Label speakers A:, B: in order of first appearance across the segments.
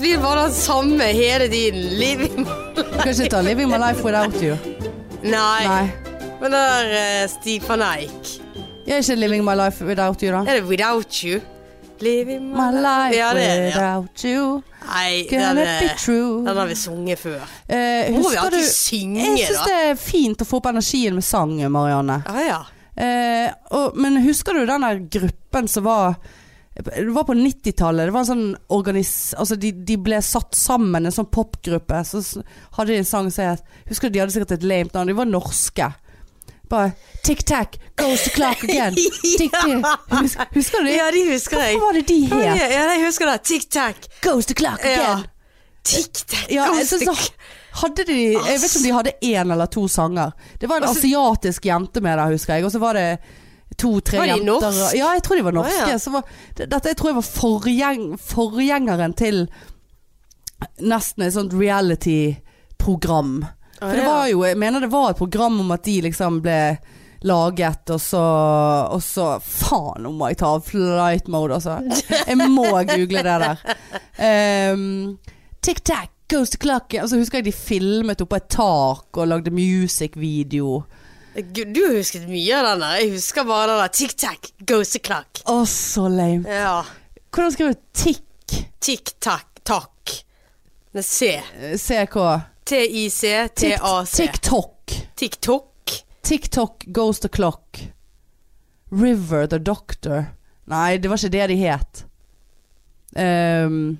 A: blir bare den samme hele tiden. Living
B: Du kan ikke ta 'Living my life without you'.
A: Nei.
B: Nei.
A: Men det der eh, Stig van Eijk
B: Jeg er ikke 'Living my life without you', da.
A: Er det Without You? Living
B: My life
A: Ja, det er det. ja.
B: without you.
A: Nei,
B: Can
A: den,
B: it be
A: eh,
B: true?
A: den har vi sunget før.
B: Eh,
A: Må vi
B: husker du
A: alltid synge,
B: Jeg syns
A: da?
B: det er fint å få opp energien med sang, Marianne.
A: Ja, ja.
B: Eh, og, men husker du den der gruppen som var Det var på 90-tallet. Det var en sånn organis... Altså de, de ble satt sammen, en sånn popgruppe. Så s- hadde de en sang som het Husker du de hadde sikkert et lame navn? De var norske. Bare Tic-tac goes the clock again. Tic-tac. Hus- Husker du de?
A: Ja, de husker jeg.
B: Hva var det de
A: Ja,
B: het?
A: ja, jeg husker det. Tic-tac.
B: Goes the clock
A: Ja.
B: again.
A: Tic-tac.
B: Ja,
A: Go
B: jeg synes
A: stick.
B: da hadde de Jeg vet ikke om de hadde én eller to sanger. Det var en
A: Altså-
B: asiatisk jente med der, husker jeg. Og så var det to-tre
A: Var de
B: jenter.
A: norsk?
B: Ja, jeg tror de var norske.
A: Å, ja.
B: så var, det- dette jeg tror jeg var forgjeng, forgjengeren til nesten et sånt reality-program.
A: Å,
B: For det
A: ja.
B: var jo Jeg mener det var et program om at de liksom ble laget, og så, og så Faen, nå må jeg ta av flight mode, altså. Jeg må google det der. Ehm, Tic-tac goes the clock. Og så husker jeg de filmet oppå et tak og lagde music-video.
A: Gud, Du har husket mye av den der. Jeg husker bare den der tic-tac, goes the clock.
B: Å, så lame.
A: Ja.
B: Hvordan skriver du tikk?
A: Tic-tac, takk. Med C.
B: Eh, CK.
A: T-I-C,
B: Tik-
A: T-A-C.
B: TikTok.
A: TikTok.
B: TikTok goes the clock. River the doctor. Nei, det var ikke det de het. Ehm,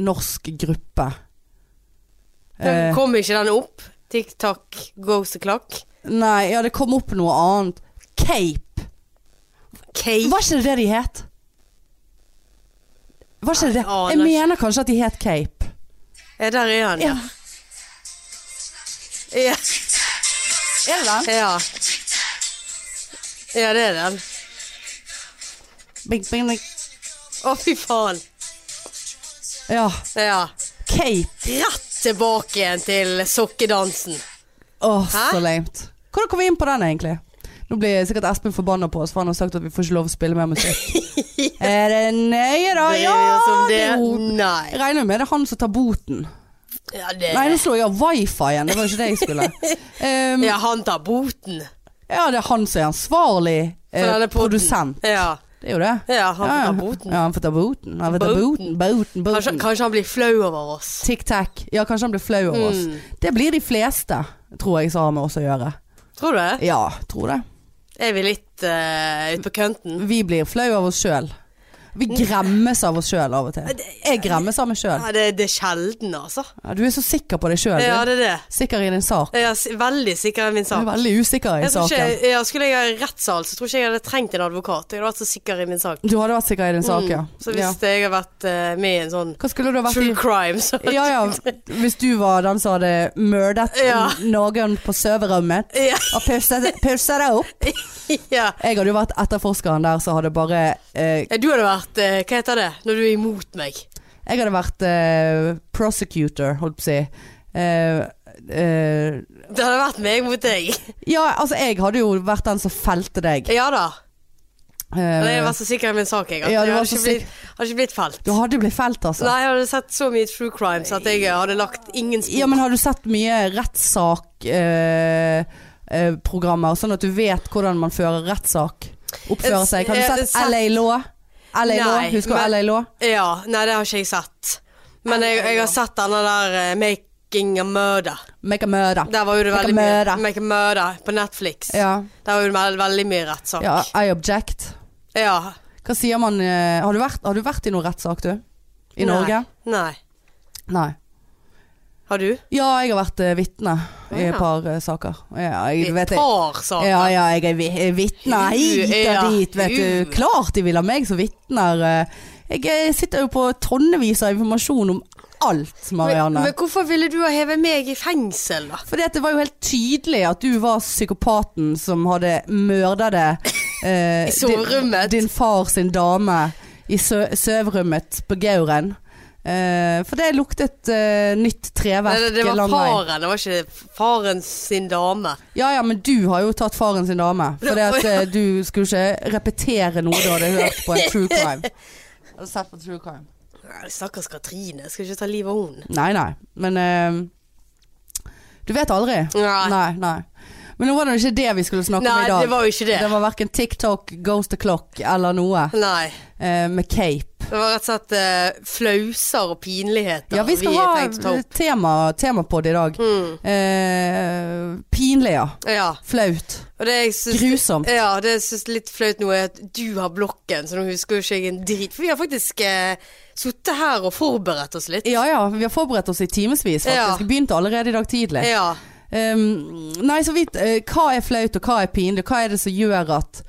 B: norsk gruppe.
A: Den
B: Eh,
A: kom ikke den opp? Tic-tac, goes the clock.
B: nei, ja, det kom opp noe annet. Cape.
A: Cake.
B: Var ikke det det de het? Var ikke det
A: Nei,
B: det? Jeg
A: aner ikke.
B: mener kanskje at de het Cape.
A: Ja, der er han, ja.
B: Ja.
A: Ja.
B: Er det den?
A: Ja, ja det er den.
B: Bing, bing, bing.
A: Å, fy faen.
B: Ja.
A: Ja.
B: Cape.
A: Rett tilbake igjen til sokkedansen.
B: Åh,
A: Hæ?
B: så lamet. Hvordan kom vi inn på den egentlig? Nå blir sikkert Espen forbanna på oss, for han har sagt at vi får ikke lov å spille mer musikk. Er det nøye, da?
A: Bryr
B: Ja!
A: vi oss om
B: det er jo-
A: det? Nei.
B: Jeg regner med det er han som tar boten.
A: Ja, det
B: Nei, nå slår jeg av wifien. Det var jo ikke det jeg skulle. Um,
A: ja, han tar boten.
B: ja, det er han som er ansvarlig
A: for
B: eh,
A: denne podden.
B: produsent.
A: Ja.
B: Det er jo det.
A: Ja, han får
B: ja.
A: ta boten.
B: Ja, han får ta boten. Han får ta
A: Boten.
B: boten, boten,
A: Kanskje,
B: boten.
A: kanskje han blir flau over oss.
B: Tic-tac. Ja, kanskje han blir flau over oss.
A: Hmm.
B: Det blir de fleste, tror jeg, som har med oss å gjøre.
A: Tror du det?
B: Ja, tror det.
A: Er vi litt eh, ute på kønten?
B: Vi blir flau av oss sjøl. Vi gremmes av oss sjøl av og til. Jeg gremmes av meg sjøl.
A: Mm. Ja, det, det er sjelden, altså.
B: Du er så sikker på deg sjøl.
A: Ja, det er det.
B: Sikker i din sak.
A: Jeg er s- veldig sikker i min
B: Du
A: sak.
B: er veldig usikker i
A: Jeg tror
B: saken.
A: ikke, ja, skulle jeg ha rettssal, så tror ikke jeg hadde trengt en advokat. Jeg hadde vært så sikker i min sak.
B: Du hadde vært sikker i din sak, ja.
A: Mm, Så hvis
B: ja.
A: jeg har vært eh, med i en sånn
B: Hva skulle du ha vært i?
A: true crime, så
B: Ja, ja. Hvis du var den som hadde myrdet
A: Ja.
B: noen på soverommet
A: Ja.
B: og pusset pusset det opp.
A: ja.
B: Jeg hadde jo vært etterforskeren der som hadde bare eh,
A: Ja, Du hadde vært eh, Hva heter det? Når du er imot meg.
B: Jeg hadde vært eh, prosecutor, holdt på å si. Eh, eh,
A: Det hadde vært meg mot deg.
B: Ja, altså jeg hadde jo vært den som felte deg.
A: Ja da. Men jeg
B: Eh,
A: var så sikker i min sak, jeg. at
B: Ja, du
A: jeg
B: var
A: hadde
B: så
A: ikke, blitt, hadde ikke blitt felt.
B: du hadde blitt felt, altså.
A: Nei, jeg hadde sett så mye true crime så at jeg eh, hadde lagt ingen spor.
B: Ja, men har du sett mye rettssakprogrammer, sånn at du vet hvordan man fører rettssak? Oppfører seg. Har
A: Eh,
B: du
A: sett-
B: sett LA Law? LA Law?
A: Nei,
B: Husker
A: men-
B: du LA Law?
A: ja, nei, det har ikke jeg sett. Men jeg, jeg har sett denne der eh, Making a Murder.
B: Make a murder.
A: Der var jo det
B: Make a
A: veldig mye
B: murder.
A: Make a Murder på Netflix.
B: Ja.
A: Der var jo det veld- veldig mye rettssak.
B: ja. I object.
A: ja.
B: Hva sier man eh, Har du vært, har du vært i noen rettssak, du? I Norge?
A: Nei. nei.
B: Nei.
A: Har du?
B: Ja, jeg har vært eh, vitne i
A: Ja.
B: et par eh, saker. Ja, jeg,
A: Et
B: vet jeg.
A: par saker.
B: Ja, ja, jeg er vi- er vitne
A: Uh,
B: hit
A: ja.
B: og dit, vet
A: Uh.
B: du. Klart de vil ha meg som vitner. Jeg eh, sitter jo på tonnevis av informasjon om alt,
A: Men,
B: Marianne.
A: men hvorfor ville du ha hevet meg i fengsel, da?
B: Fordi at det var jo helt tydelig at du var psykopaten som hadde mørdet det. eh,
A: I soverommet.
B: Din, din far sin dame i sø soverommet på Gauren. Eh, for det luktet eh,
A: Nei,
B: nytt treverk
A: det, det var
B: lang vei.
A: faren, det var ikke faren sin dame.
B: Ja ja, men du har jo tatt faren sin dame. For det at eh, du skulle ikke repetere noe du hadde hørt på en true crime. Hadde sett på true crime.
A: Nei, Stakkars Katrine. Skal ikke ta livet av hun.
B: Nei, nei. Men eh, Du vet aldri.
A: Nei.
B: Nei, nei. Men nå var det jo ikke det vi skulle snakke om
A: Nei,
B: i dag.
A: det var jo ikke det.
B: Det var verken TikTok, Ghost the Clock eller noe
A: Nei.
B: eh, med cape.
A: Det var rett og slett eh, flauser og pinligheter
B: Ja, vi skal
A: tenkte å ta
B: ha
A: opp.
B: tema, temapod i dag.
A: Mm.
B: Eh, pinlig, ja.
A: Ja.
B: Flaut.
A: Og det jeg syns
B: Grusomt.
A: Ja, det jeg syns er litt flaut nå, er at du har blokken, så nå husker jo ikke jeg en drit. For vi har faktisk eh, sittet her og forberedt oss litt.
B: Ja ja, vi har forberedt oss i timevis
A: Ja.
B: faktisk. Begynte allerede i dag tidlig.
A: ja.
B: Ehm, nei, så vidt eh, Hva er flaut og hva er pinlig? Hva er det som gjør at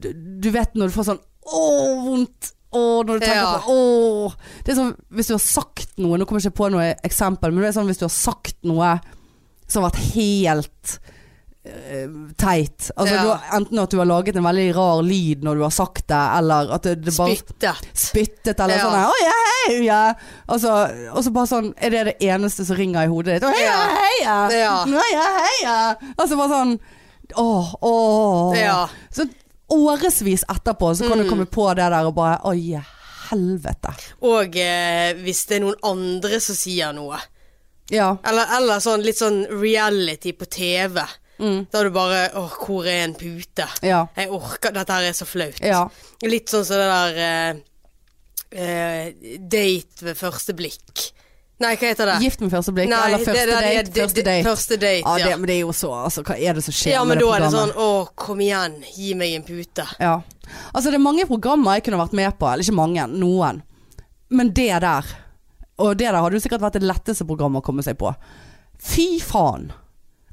B: du, du vet når du får sånn åh, vondt Åh, når du tenker
A: Ja.
B: på åh Det er sånn hvis du har sagt noe Nå kommer jeg ikke på noe eksempel, men det er sånn hvis du har sagt noe som har vært helt eh, teit. Altså,
A: Ja.
B: du har, enten at du har laget en veldig rar lyd når du har sagt det, eller at det, det bare
A: Spyttet.
B: spyttet eller
A: Ja.
B: sånn her, «Å, ja, hei, ja. Altså, og så bare sånn Er det det eneste som ringer i hodet ditt? «Å, ja,
A: Ja.
B: hei, ja.
A: Ja.
B: Nå, ja, hei, ja. Altså bare sånn Åh, åh.
A: Ja. Mm.
B: Så årevis etterpå så kan du komme på det der og bare Oi, helvete.
A: Og eh, hvis det er noen andre som sier noe.
B: Ja.
A: Eller, eller sånn litt sånn reality på TV. Da er du bare Åh, hvor er en pute?
B: Mm. Ja.
A: Jeg orker Dette her er så flaut.
B: Ja.
A: Litt sånn som det der eh, eh, Date ved første blikk. Nei, hva heter det?
B: Gift med første blikk,
A: Nei,
B: eller
A: det-
B: første
A: det- det-
B: date.
A: det-
B: første
A: det-
B: date.
A: første date,
B: ja.
A: ja.
B: Det, men det er jo så Altså, hva er det som skjer
A: Ja, men
B: med
A: da
B: det
A: er det
B: programmet?
A: sånn Å, kom igjen, gi meg en pute.
B: Ja. Altså det er mange programmer jeg kunne vært med på, eller ikke mange, noen. Men det der, og det der hadde jo sikkert vært det letteste programmet å komme seg på. Fy faen.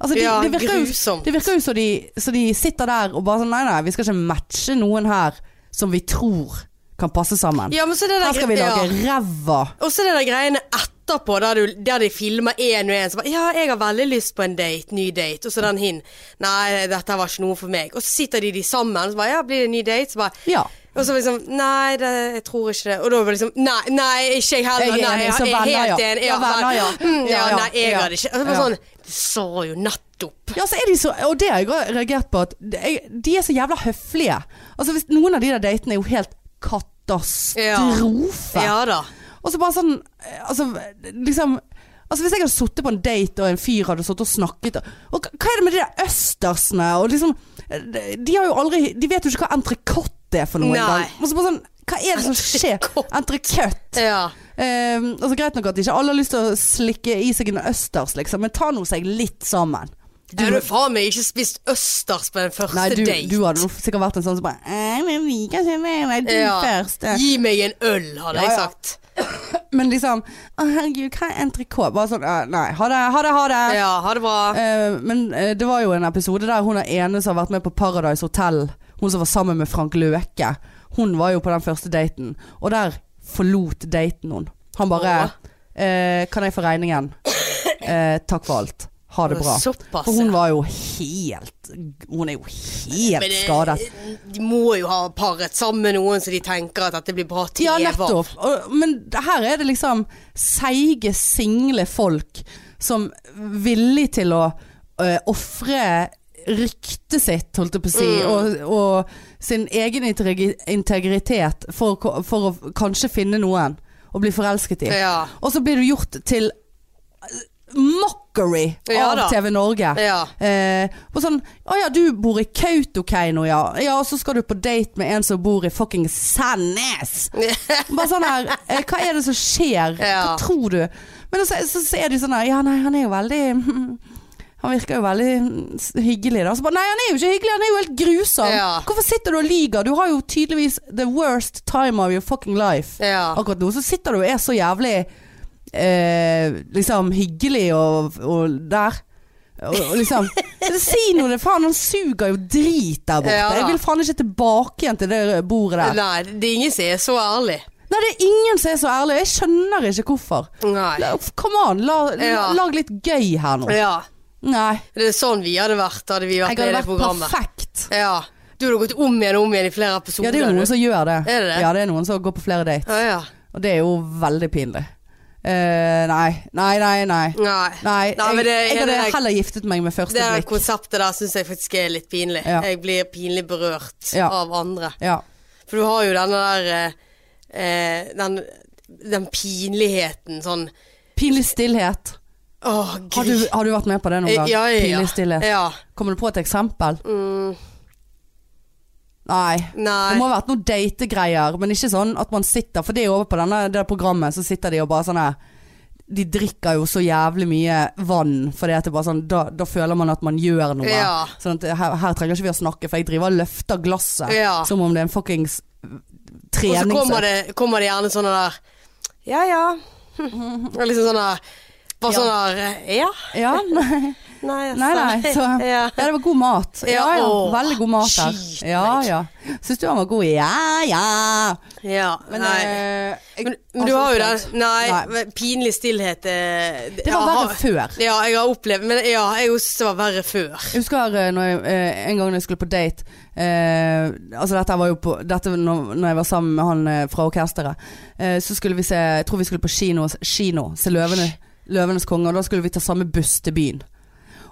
B: Altså, de,
A: Ja,
B: det virker jo,
A: grusomt.
B: det virker jo så de, så de sitter der og bare sånn Nei, nei, vi skal ikke matche noen her som vi tror kan passe sammen.
A: Ja, men så det der
B: her skal vi lage
A: ja.
B: ræva.
A: Og så det der greiene etterpå, der, du, der de filmer én og én som bare Ja, jeg har veldig lyst på en date, ny date. Og så den hin. Nei, dette var ikke noe for meg. Og så sitter de de sammen, så bare Ja, blir det en ny date? Så bare
B: Ja.
A: Og så liksom Nei, det, jeg tror ikke det. Og da var det liksom Nei, nei ikke jeg heller.
B: Jeg er
A: nei,
B: enig, så venner, ja.
A: helt enig.
B: Ja, venner, ja.
A: Mm, ja,
B: Ja, ja,
A: nei, jeg
B: ja.
A: hadde ikke Og så bare
B: Ja.
A: sånn Du sa jo nettopp.
B: Ja, så er de så, og det har jeg også reagert på, at de- de er så jævla høflige. Altså, hvis noen av de der datene er jo helt katastrofe.
A: Ja da.
B: Og så bare sånn eh, Altså, liksom Altså Hvis jeg hadde sittet på en date, og en fyr hadde sittet og snakket og, og Hva er det med de der østersene? Og liksom eh, De har jo aldri De vet jo ikke hva entrecôte er for noe
A: Nei.
B: engang. Og så bare sånn Hva er det som skjer?
A: Entrecôte.
B: Entrecôte.
A: Ja.
B: Eh, altså Greit nok at ikke alle har lyst til å slikke i seg en østers, liksom, men ta nå seg litt sammen.
A: Du har faen meg ikke spist østers på den første
B: Nei, du,
A: date.
B: du hadde nok sikkert vært en sånn som bare «Eh, Men vi kan ikke Nei, du først. eh.»
A: Gi meg en øl, hadde
B: Ja,
A: jeg
B: ja.
A: sagt.
B: Men liksom Å, herregud, hva er entrecôte? Bare sånn «Eh, Nei, ha det, ha det, ha det.
A: Ja, ha det bra.
B: Eh, men eh, det var jo en episode der hun er ene som har vært med på Paradise Hotel. Hun som var sammen med Frank Løke. Hun var jo på den første daten, og der forlot daten hun. Han bare eh, 'Kan jeg få regningen?' Eh, 'Takk for alt. Ha det bra'.
A: Såpass.
B: For hun
A: ja.
B: var jo helt Hun er jo
A: Men eh,
B: helt
A: det-
B: skadet.
A: De må jo ha paret sammen med noen så de tenker at dette blir bra TV.
B: Ja, nettopp. Og, men her er det liksom seige, single folk som villig til å øh, ofre ryktet sitt, holdt jeg på å si, og, og sin egen integri- integritet for, å ko- for å kanskje finne noen å bli forelsket i.
A: Ja.
B: Og så blir du gjort til eh, mockery
A: Ja da.
B: av TV Norge.
A: Ja.
B: Eh, og sånn Å ja, du bor i Kautokeino, ja. Ja, og så skal du på date med en som bor i fucking Sandnes. Bare sånn her eh, Hva er det som skjer?
A: Ja.
B: Hva tror du? Men så, så, så er de sånn her Ja, nei, han er jo veldig Han virker jo veldig s- hyggelig, da. Så bare Nei, han er jo ikke hyggelig, han er jo helt grusom.
A: Ja.
B: Hvorfor sitter du og lyver? Du har jo tydeligvis the worst time of your fucking life
A: Ja.
B: akkurat nå så sitter du og er så jævlig eh, liksom hyggelig og, og der. Og, og liksom Si noe, det faen. Han suger jo drit der borte.
A: Ja da.
B: Jeg vil faen ikke tilbake igjen til det bordet der.
A: Nei, det er ingen som er så ærlig.
B: Nei, det er ingen som er så ærlig. Jeg skjønner ikke hvorfor.
A: Nei.
B: La- Come on, la, la,
A: Ja.
B: lag litt gøy her nå.
A: Ja.
B: Nei.
A: Det er sånn vi hadde vært, hadde vi vært
B: Jeg
A: med i
B: hadde
A: det
B: vært
A: programmet.
B: perfekt.
A: Ja. Du hadde gått om igjen og om igjen i flere episoder.
B: Ja, det er jo
A: du.
B: noen som gjør det.
A: Er det det?
B: Ja, det er noen som går på flere dates.
A: Ja, ja.
B: Og det er jo veldig pinlig. Eh, nei, nei, nei. nei.
A: Nei.
B: Nei,
A: Nei, men
B: jeg,
A: det-
B: jeg
A: det
B: hadde
A: der-
B: heller giftet meg med første
A: Det der
B: blikk.
A: konseptet der syns jeg faktisk er litt pinlig.
B: Ja.
A: Jeg blir pinlig berørt
B: Ja.
A: av andre.
B: Ja.
A: For du har jo denne der eh, eh, Den den pinligheten sånn
B: Pinlig stillhet.
A: Åh,
B: Har du,
A: gud.
B: har du vært med på det noen
A: Ja,
B: gang?
A: ja, ja.
B: Pinlig stillhet.
A: ja.
B: Kommer du på et eksempel?
A: Mm,
B: Nei. Det
A: nei.
B: må ha vært noen dategreier, men ikke sånn at man sitter For det er jo over på denne, det der programmet, så sitter de og bare sånn her De drikker jo så jævlig mye vann, for det er bare sånn da, da føler man at man gjør noe.
A: Ja.
B: Sånn at her, her trenger ikke vi å snakke, for jeg driver og løfter glasset
A: Ja.
B: som om det er en fuckings
A: Og så
B: trening.
A: kommer det, kommer det gjerne sånne der Ja ja. Og liksom sånn der Bare
B: Ja.
A: sånn der Ja.
B: Ja, nei,
A: Nei, altså.
B: nei, nei så
A: ja.
B: Ja, det var god mat. Ja,
A: Ja,
B: ja.
A: åh,
B: Veldig god mat her.
A: skyt meg.
B: Ja, ja. Syns du han var god? Ja, ja.
A: ja.
B: Men,
A: nei.
B: eh, jeg-
A: Men, men du har jo den Nei,
B: Nei.
A: men pinlig stillhet eh,
B: Det var
A: jeg har-
B: verre før.
A: Ja, jeg har opplevd Men ja, jeg syns det var verre før.
B: Jeg husker eh, når jeg, eh, en gang når jeg skulle på date eh, Altså dette var jo på Dette var når, når jeg var sammen med han eh, fra orkesteret eh, Så skulle vi se Jeg tror vi skulle på kino, kino Se Løvene, Løvenes konge Og da skulle vi ta samme buss til byen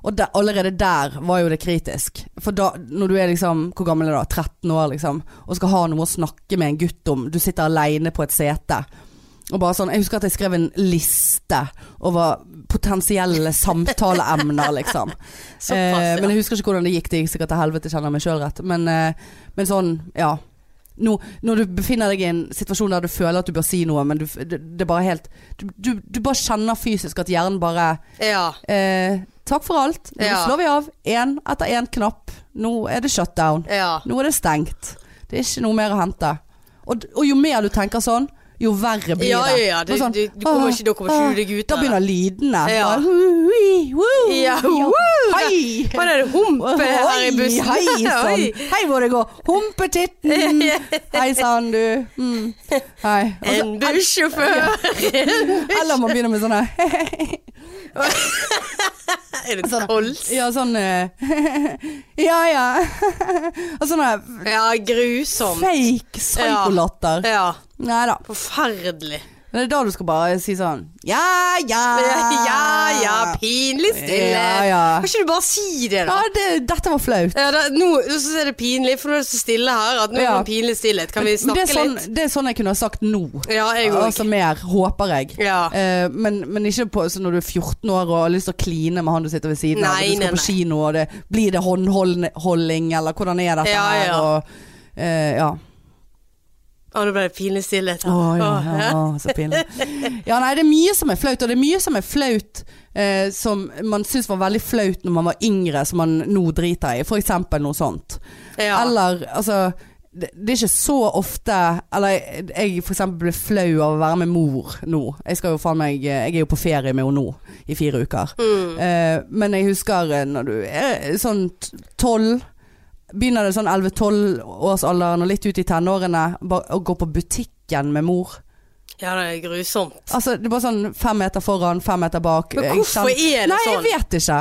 B: Og da- allerede der var jo det kritisk For da, når du er liksom Hvor gammel er du da? 13 år liksom Og skal ha noe å snakke med en gutt om Du sitter alene på et sete og bare sånn, Jeg husker at jeg skrev en liste over potensielle samtaleemner, liksom.
A: Såpass,
B: Eh,
A: ja.
B: men jeg husker ikke hvordan det gikk. Det gikk sikkert til helvete, kjenner jeg meg sjøl rett. Men, eh, men sånn, ja. Nå, når du befinner deg i en situasjon der du føler at du bør si noe, men du, f- det, det er bare helt du, du, du bare kjenner fysisk at hjernen bare
A: Ja.
B: eh, Takk for alt. Nå
A: Ja.
B: slår vi av. Én etter én knapp. Nå er det shutdown.
A: Ja.
B: Nå er det stengt. Det er ikke noe mer å hente. Og, d- og jo mer du tenker sånn, jo verre blir
A: Ja, ja,
B: det.
A: ja. Du,
B: Bare sånn,
A: du, du kommer
B: «Åh,
A: ikke, da kommer ikke
B: åh».
A: du deg ut av
B: Da
A: det.
B: begynner lydene.
A: Ja.
B: Bare, «Hui, woo,
A: Ja, woo,
B: Hei!
A: Hva er det humpe her i bussen?
B: Hei, hei sann.
A: Oi.
B: Hei hvor det går. Humpetitten. Hei sann, du. Mm. Hei. Og så- sånn,
A: En bussjåfør!
B: eller man begynner med sånne
A: Er det
B: sånn-
A: kols?
B: Ja, sånn eh, Ja, ja. Og sånne
A: Ja, grusom.
B: fake psykolatter.
A: Ja,
B: Nei da.
A: forferdelig.
B: Det er da du skal bare si sånn Ja, ja.
A: Ja, ja, pinlig stille.
B: Ah. Ja, Ah. ja.
A: Kan ikke du bare si det, da?
B: Ja, det, dette var flaut.
A: Ja, da, nå nå synes jeg det er pinlig, for nå er det så stille her at nå
B: Ja.
A: er det pinlig stillhet. Kan vi
B: Men
A: snakke
B: det, er sånn,
A: litt?
B: det er sånn jeg kunne ha sagt nå.
A: Ja, jeg òg.
B: Altså mer, håper jeg.
A: ja.
B: Eh, men, men ikke på, så når du er 14 år og har lyst til å kline med han du sitter ved siden
A: Nei,
B: av, og du skal
A: nei,
B: på kino, og det, blir det håndholding, eller hvordan er dette
A: Ja,
B: her?
A: ja.
B: Og, eh, ja.
A: Å, nå ble det pinlig stillhet her.
B: Å, ja,
A: Å,
B: ja, å, så pinlig. Ja, nei, det er mye som er flaut, og det er mye som er flaut eh, som man syntes var veldig flaut når man var yngre, som man nå driter i. For eksempel noe sånt.
A: ja.
B: Eller altså det, det er ikke så ofte Eller jeg, jeg for eksempel ble flau av å være med mor nå. Jeg, skal jo, faen meg, eh, jeg er jo på ferie med henne nå i fire uker.
A: Mm.
B: Eh, men jeg husker eh, når du er sånn t- tolv Begynner det sånn 11-12 årsalderen og litt ut i tenårene bare å gå på butikken med mor.
A: ja, det er grusomt.
B: Altså det er bare sånn fem meter foran, fem meter bak.
A: Men
B: Jeg
A: hvorfor
B: kjenner-
A: er det
B: Nei,
A: sånn?
B: jeg vet ikke.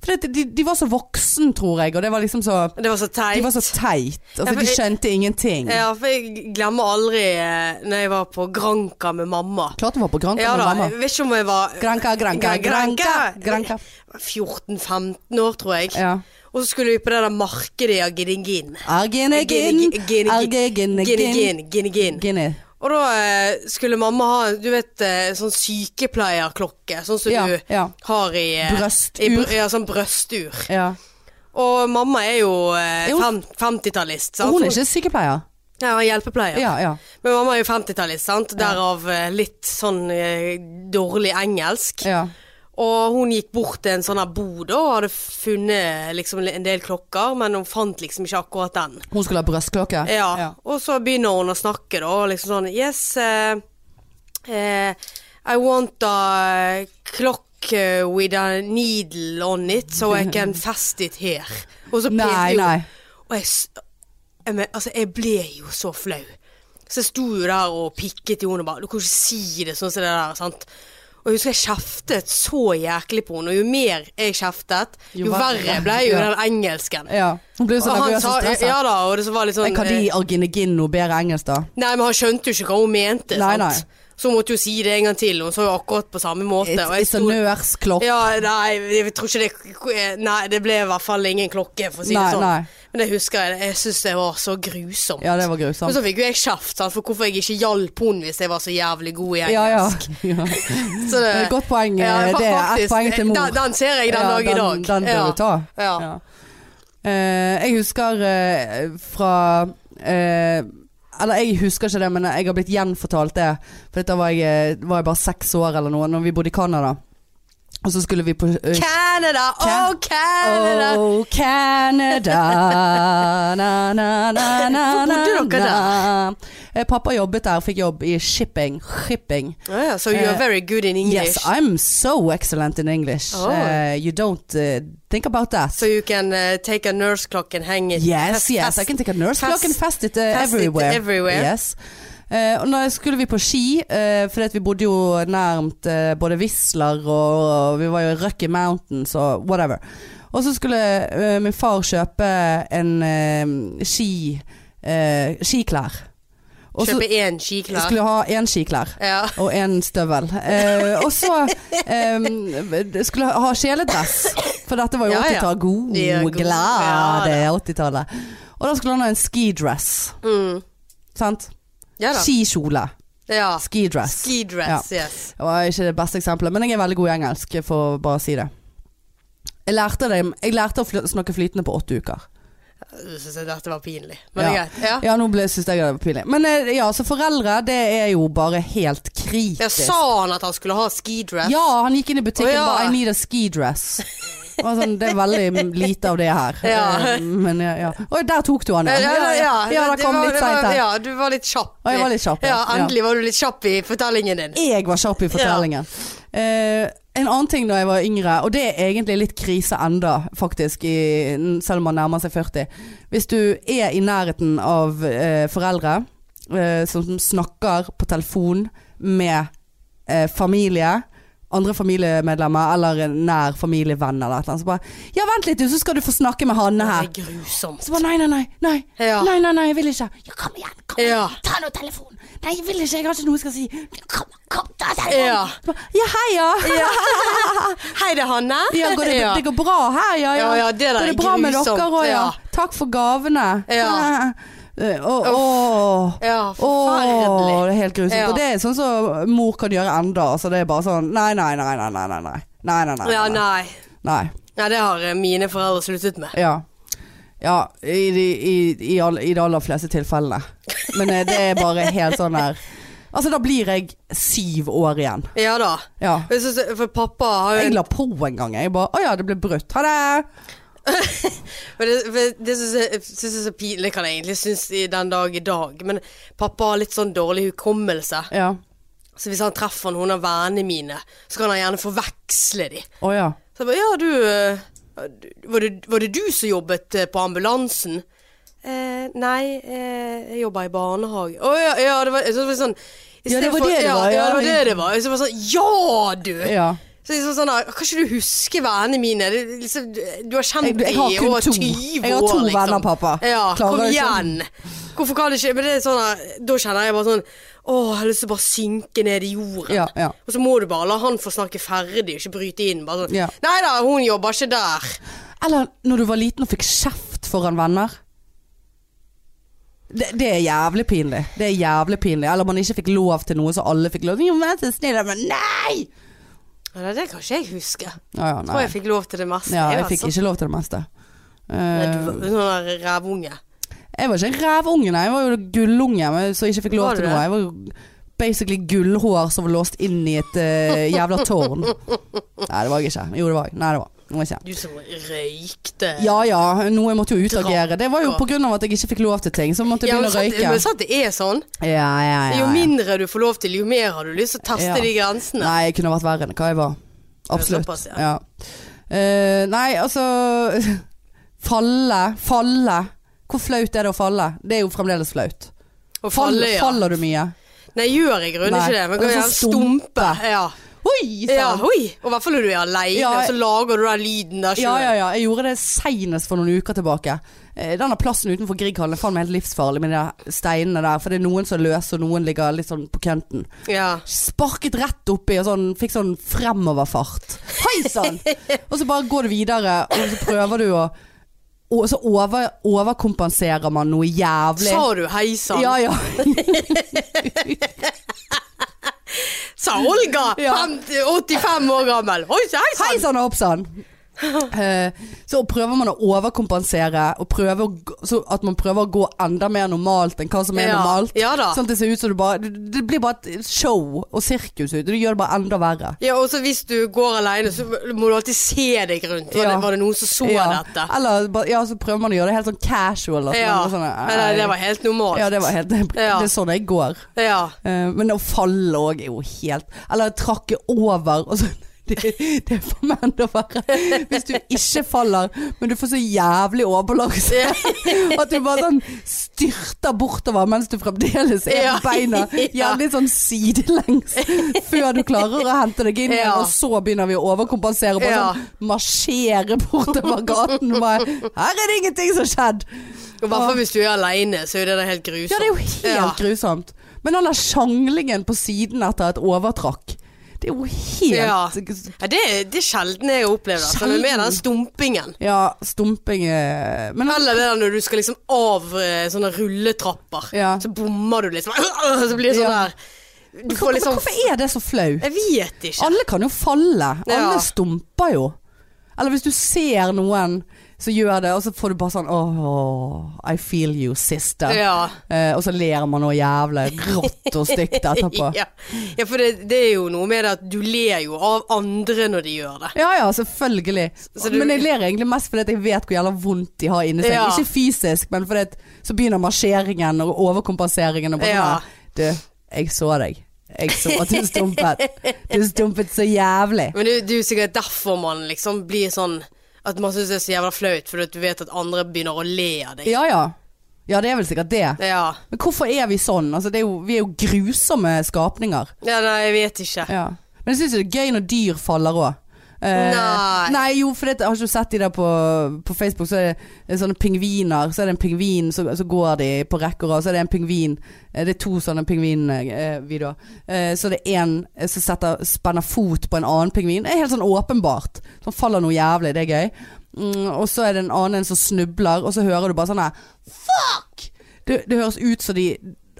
B: For det, de, de var så voksen, tror jeg, og det var liksom så
A: Det var så
B: de
A: teit.
B: var så teit.
A: Ja,
B: Altså,
A: for
B: de
A: jeg-
B: skjønte ingenting.
A: Ja, for jeg glemmer aldri eh, Når jeg var på Granka med mamma.
B: Klart du var på Granka
A: Ja
B: med
A: da,
B: mamma.
A: jeg vet ikke om jeg var
B: Granka, Granka,
A: Gran-
B: Granka.
A: Granka.
B: Granka.
A: 14-15 år, tror jeg.
B: Ja.
A: Og så skulle vi på det der markedet i Aginegin.
B: Argenegin, argenegin,
A: Ginegin, Ginegin.
B: gine.
A: Og da eh, skulle mamma ha du vet, eh, sånn sykepleierklokke, sånn som
B: Ja,
A: du
B: ja.
A: har i eh,
B: Brøstur.
A: I, br- ja, sånn brøstur.
B: Ja.
A: Og mamma er jo eh,
B: Jo.
A: fem, 50-tallist, sant?
B: Hun er ikke sykepleier.
A: Ja, hjelpepleier.
B: Ja, ja.
A: Men mamma er jo 50-tallist, sant? Derav eh, litt sånn eh, dårlig engelsk.
B: ja.
A: Og hun gikk bort til en sånn her bod og hadde funnet liksom en del klokker, men hun fant liksom ikke akkurat den.
B: Hun skulle ha brystklokke.
A: Ja. Og så begynner hun å snakke, da, og liksom sånn Yes, eh, eh, I want a clock eh, with a needle on it, so I can fest it here. Og så
B: Nei,
A: pekte hun.
B: nei.
A: Og jeg, s- jeg, men, altså, jeg ble jo så flau. Så jeg sto jo der og pikket i henne og bare Du kan ikke si det sånn som det der, sant. Og jeg husker jeg kjeftet så jæklig på henne, og jo mer jeg kjeftet, jo,
B: Jo
A: verre
B: verre.
A: ble jo
B: Ja.
A: den engelsken.
B: Ja. Hun ble jo så
A: Og han
B: nervøs
A: sa
B: og stressa.
A: Ja da, og det så var litt sånn
B: Kan
A: eh,
B: de argenegin noe bedre engelsk, da?
A: Nei, men han skjønte jo ikke hva hun mente.
B: Nei,
A: sant? Så hun måtte jo si det en gang til. Hun sa jo akkurat på samme måte.
B: It's,
A: og jeg
B: it's a
A: sto-
B: nurse clock.
A: ja, nei, jeg tror ikke det Nei, det ble i hvert fall ingen klokke, for å si
B: Nei,
A: det sånn.
B: nei.
A: Men det husker jeg. Jeg syns det var så grusomt.
B: Ja, det var
A: Men
B: grusomt.
A: så fikk jo jeg kjeft sant, for hvorfor jeg ikke hjalp henne hvis jeg var så jævlig god i
B: Ja, ja.
A: engelsk.
B: ja.
A: Så det,
B: Det er et godt poeng. eh,
A: fa-
B: det er
A: faktisk.
B: ett poeng til mor.
A: Den, den ser jeg den
B: Ja,
A: dag i dag.
B: Den, den bør
A: ja.
B: du ta.
A: Ja.
B: Ja. Eh, jeg husker eh, fra eh, Eller jeg husker ikke det, men jeg har blitt gjenfortalt det. For da var jeg, eh, var jeg bare seks år eller noe, når vi bodde i Canada. Og så skulle vi på eh,
A: Canada, oh
B: Ca-
A: Canada.
B: Oh, Canada. Na, na, na, na, na,
A: Hvor bodde dere
B: na. Eh, Pappa jobbet der, fikk jobb i shipping. Shipping.
A: Ja, ja, so you're
B: Eh,
A: very good in English.
B: Yes, I'm so excellent in English.
A: Oh.
B: Eh, you don't eh, think about that.
A: so you can eh, take a nurse clock and hang it.
B: Yes,
A: Fest-
B: yes,
A: fest-
B: I can take a nurse
A: fest-
B: block and fest it uh,
A: fest it
B: everywhere.
A: everywhere.
B: Yes. Eh, og da skulle vi på ski, eh, fordi at vi bodde jo nærmt eh, både Whistler og, og vi var jo i Rocky Mountains og whatever. Og så skulle eh, min far kjøpe en eh, ski, eh, skiklær. Og så
A: Kjøpe én skiklær.
B: skulle jeg ha én skiklær.
A: Ja.
B: Og en støvel. Eh, og så eh, skulle jeg ha kjeledress, for dette var jo
A: Ja, ja.
B: 80-tallet. God,
A: Det er god- ja,
B: glade 80-tallet. Og da skulle han ha en skidress.
A: Mm.
B: Sant?
A: Ja da.
B: Skikjole.
A: Ja.
B: Skidress.
A: Skidress, yes.
B: Det var ikke det beste eksempelet, men jeg er veldig god i engelsk, for å bare si det. Jeg lærte, det, jeg lærte å fly, snakke flytende på åtte uker.
A: Du syns dette var pinlig. Men det er
B: Ja.
A: greit. Ja.
B: Ja, nå ble- syns jeg det var pinlig. Men eh, ja, så foreldre, det er jo bare helt kritisk.
A: Jeg sa han at han skulle ha skidress?
B: Ja, han gikk inn i butikken
A: Å, ja.
B: og bare I need a ski dress. Det var Sånn, det er veldig lite av det her.
A: Ja.
B: Eh, Men ja, ja. Oi, der tok du han,
A: Ja,
B: ja.
A: ja, ja,
B: ja, ja, det
A: det
B: kom
A: var-
B: litt
A: det var-
B: seint her.
A: Ja, du var litt kjapp.
B: Å, jeg var litt kjapp,
A: ja.
B: ja.
A: Endelig var du litt kjapp i fortellingen din.
B: Jeg var kjapp i fortellingen. Eh, en annen ting da jeg var yngre, og det er egentlig litt krise enda, faktisk, i, selv om man nærmer seg 40. Hvis du er i nærheten av eh, foreldre eh, som snakker på telefon med eh, familie, andre familiemedlemmer eller en nær familievenn eller et eller annet, så bare Ja, vent litt, du, så skal du få snakke med Hanne
A: Det
B: her.
A: er grusomt.
B: Så bare nei, nei, nei. Nei,
A: Ja.
B: nei, nei, nei jeg vil ikke. Ja, kom igjen, kom
A: Ja.
B: igjen. Ta nå telefonen. Nei, jeg vil ikke. Jeg har ikke noe jeg skal si. Kom, kom, ta telefonen.
A: Ja.
B: Så bare, Ja, hei, ja.
A: Hei, det er Hanne.
B: Ja, går det,
A: Ja.
B: det går bra her, ja.
A: Ja, ja, det der
B: går
A: er
B: det bra med
A: grusomt,
B: dere òg, ja.
A: ja.
B: Takk for gavene.
A: Ja.
B: Eh, Å, å.
A: Ja,
B: Åh,
A: forferdelig.
B: det er helt grusomt.
A: Ja.
B: Og det er sånn som mor kan gjøre enda. Altså, det er bare sånn nei, nei, nei, nei, nei, nei, nei. Nei, nei, nei,
A: Ja,
B: nei.
A: nei.
B: nei.
A: Nei, det har eh, mine foreldre sluttet med.
B: Ja. ja i, de, i, i, all, I de aller fleste tilfellene. Men eh, det er bare helt sånn her Altså, da blir jeg syv år igjen.
A: Ja da.
B: Ja.
A: Jeg synes, for pappa har jo
B: Jeg
A: en,
B: la på en gang. Jeg bare Å ja, det ble brutt. Ha det.
A: for Det, for det syns jeg, synes jeg er så pinlig, kan jeg egentlig synes i den dag i dag. Men pappa har litt sånn dårlig hukommelse.
B: Ja.
A: Så hvis han treffer noen av vennene mine, så kan han gjerne forveksle de.
B: Å ja.
A: Så jeg bare, ja, du eh, du- var, det, var det du som jobbet eh, på ambulansen? Eh, nei, eh, jeg jobba i barnehage. Å ja, ja, det var, så det var sånn i
B: Ja, det
A: stedet
B: var det det
A: ja, Ja,
B: var, ja.
A: det var det det var. Så det var sånn, ja, du!
B: Ja.
A: Så liksom sånn, da, kan ikke du huske vennene mine? Det, er liksom, du har
B: Jeg,
A: kjent
B: jeg har
A: dem i
B: kun
A: over
B: to.
A: 20 år.
B: Jeg har to
A: liksom.
B: venner, pappa.
A: Ja,
B: Klarer
A: kom
B: jeg
A: igjen!
B: sånn.
A: Hvorfor kan det ikke Men det er sånn, da, da kjenner jeg bare sånn Å, jeg har lyst til å bare synke ned i jorden.
B: Ja, ja.
A: Og så må du bare la han få snakke ferdig, ikke bryte inn. Bare sånn
B: Ja.
A: Nei da, hun jobber ikke der.
B: Eller når du var liten og fikk kjeft foran venner. Det, det er jævlig pinlig. Det er jævlig pinlig. Eller man ikke fikk lov til noe, så alle fikk lov. Jo, vær så snill, men nei!
A: Ja, det, det kan ikke jeg huske.
B: Ja, ja,
A: Jeg tror
B: nei.
A: jeg fikk lov til det meste.
B: Ja, jeg
A: altså.
B: fikk ikke lov til det meste.
A: Nei,
B: Eh,
A: du var en sånn der rævunge.
B: jeg var ikke en rævunge, nei. Jeg var jo gullunge men- som ikke fikk
A: Var
B: lov til
A: du
B: noe. Jeg var jo basically gullhår som var låst inn i et eh, jævla tårn. Nei, det var jeg ikke. Jo, det var jeg. Nei, det var, det var jeg ikke.
A: Du som røykte.
B: Ja ja, noe jeg måtte jo utagere. Det var jo
A: Drakk.
B: pga. at jeg ikke fikk lov til ting. Så måtte
A: Ja,
B: jeg
A: men
B: begynne å
A: sant,
B: røyke.
A: men sant det er sånn.
B: Ja, ja, ja,
A: Jo
B: ja.
A: mindre du får lov til, jo mer har du lyst til å teste
B: Ja.
A: de grensene.
B: Nei, jeg kunne vært verre enn hva jeg var. Absolutt.
A: Såpass, ja.
B: ja. Eh, nei, altså Falle. Falle. Hvor flaut er det å falle? Det er jo fremdeles flaut.
A: Og
B: Fall,
A: falle, ja.
B: Faller du mye?
A: Nei, gjør jeg grunn
B: Nei.
A: ikke det. Men
B: Og
A: kan
B: så
A: gjerne stumpe. Ja.
B: Oi
A: ja,
B: sann!
A: oi. Og i hvert fall når du er aleine,
B: Ja,
A: og så lager du den lyden der
B: Ja,
A: sjøl.
B: ja, ja. Jeg gjorde det seinest for noen uker tilbake. Eh, Denne plassen utenfor Grieghallen er faen meg helt livsfarlig med de der steinene der. For det er noen som er løse, og noen ligger litt sånn på kønten.
A: Ja.
B: Sparket rett oppi og sånn, fikk sånn fremoverfart. Hei sann! og så bare går du videre, og så prøver du å og så over, overkompenserer man noe jævlig.
A: Sa du hei sann?
B: Ja, ja.
A: Sa Olga!
B: Ja.
A: 50, 85 år gammel. Oi, så hei
B: Hei
A: sann!
B: sann og hopp sann! Eh, Så prøver man å overkompensere, og prøver å, g- så at man prøver å gå enda mer normalt enn hva som er
A: Ja,
B: normalt.
A: ja da.
B: Sånn at det ser ut som du bare det- Det blir bare et show og sirkus ut. og Det gjør det bare enda verre.
A: Ja, og så hvis du går alene, så må du alltid se deg rundt. Var,
B: Ja.
A: det, var det noen som så
B: ja.
A: dette?
B: Eller bare- ja, så prøver man å gjøre det helt sånn casual. At
A: Ja.
B: man bare sånn, eh,
A: Eller det var helt normalt.
B: ja, det var helt Det
A: Ja.
B: er sånn jeg går.
A: Ja.
B: Eh, Men å falle òg er jo helt Eller trakke over og sånn. Det, det er for meg enda verre. Hvis du ikke faller, men du får så jævlig overbalanse at du bare sånn styrter bortover mens du fremdeles er
A: Ja.
B: på beina. Jævlig sånn sidelengs før du klarer å hente deg inn igjen.
A: Ja.
B: Og så begynner vi å overkompensere. Bare
A: Ja.
B: sånn marsjere bortover gaten. og Bare, Her er det ingenting som har skjedd!
A: Og I hvert fall hvis du er alene, så er det da helt grusomt.
B: Ja, det er jo helt
A: Ja.
B: grusomt. Men den der sjanglingen på siden etter et overtrakk, det er jo
A: Ja.
B: helt ja.
A: Ja, det, er- det er sjelden jeg har opplevd det. Altså, men med den stumpingen.
B: stumping er Men
A: Eller det der når du skal liksom av eh, sånne rulletrapper.
B: Ja.
A: Så bommer du liksom. Så blir det sånn
B: Ja.
A: der Du
B: hvorfor,
A: får liksom
B: hvorfor er det så flaut?
A: Jeg vet ikke.
B: Alle kan jo falle.
A: Ja.
B: Alle stumper jo. Eller hvis du ser noen som gjør det, og så får du bare sånn Åh, I feel you, sister.
A: Ja.
B: Eh, og så ler man noe jævlig rått og stygt etterpå.
A: ja. ja, for det, det er jo noe med det at du ler jo av andre når de gjør det.
B: Ja ja, selvfølgelig.
A: Så du-
B: Men jeg ler egentlig mest fordi at jeg vet hvor jævla vondt de har inni seg.
A: Ja.
B: Ikke fysisk, men fordi at så begynner marsjeringen og overkompenseringen og bare
A: Ja.
B: sånn her, Du, jeg så deg. Jeg så at du stumpet. Du stumpet så jævlig.
A: Men det, det er jo sikkert derfor man liksom blir sånn At man syns det er så jævla flaut, fordi at du vet at andre begynner å le av deg.
B: Ja ja. Ja, det er vel sikkert det.
A: Ja.
B: Men hvorfor er vi sånn? Altså, det er jo, vi er jo grusomme skapninger.
A: ja nei, jeg vet ikke.
B: Ja. Men jeg syns det er gøy når dyr faller Eh, òg.
A: Nei.
B: nei, jo, for det, har ikke du sett de der på, på Facebook, så er det sånne pingviner. Så er det en pingvin, så, så går de på rekke og rad, så er det en pingvin eh, Det er to sånne pingvinvideoer. Eh, så det er én som setter, spenner fot på en annen pingvin. Det er helt sånn åpenbart. Sånn faller noe jævlig, det er gøy. Mm, og så er det en annen en som snubler, og så hører du bare sånn her Fuck! Det, det høres ut som de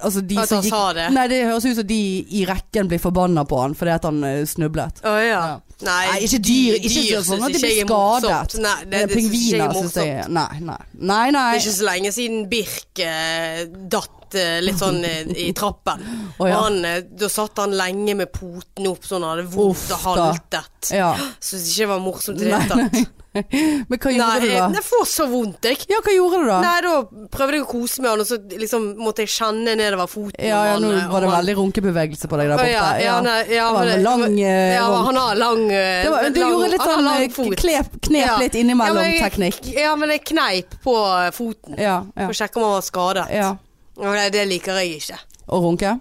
B: Altså de
A: At
B: som
A: han
B: gikk
A: sa det?
B: Nei, det høres ut som de i rekken blir forbanna på han fordi at han eh, snublet.
A: Å ja.
B: Ja. Nei, ikke dyr. Ikke dyr, sånn
A: synes
B: at de
A: ikke
B: blir
A: jeg er morsomt.
B: skadet.
A: Nei, det, det synes ikke jeg er
B: Men pingviner syns
A: morsomt.
B: jeg Nei, nei. nei, nei.
A: Det er ikke så lenge siden Birk eh, datt eh, litt sånn eh, i trappen.
B: Å, ja.
A: Og han, eh, Da satt han lenge med poten opp sånn, han hadde vondt
B: Uff,
A: og
B: da.
A: haltet.
B: Ja.
A: Syns ikke det var morsomt i det
B: Nei,
A: hele tatt.
B: Men hva
A: Nei,
B: gjorde
A: jeg,
B: du da?
A: jeg får så vondt, jeg.
B: Ja, hva gjorde du da?
A: Nei, da prøvde jeg å kose med han, og så liksom måtte jeg kjenne nedover foten.
B: Ja, ja,
A: og
B: nå
A: han,
B: var det
A: og han-
B: veldig runkebevegelse på deg der
A: Å,
B: borte.
A: ja, ja, nei, ja,
B: det var
A: men
B: en lang eh,
A: ja,
B: runk.
A: han har lang eh,
B: Det var, du
A: lang-
B: gjorde litt
A: han har
B: sånn
A: lang
B: eh,
A: fot.
B: klep, knep
A: Ja.
B: litt innimellom
A: Ja, men jeg-
B: teknikk.
A: Ja, men jeg kneip på eh, foten
B: Ja, ja,
A: for å sjekke om han var skadet.
B: ja.
A: Og Nei, det liker jeg ikke.
B: Og runke?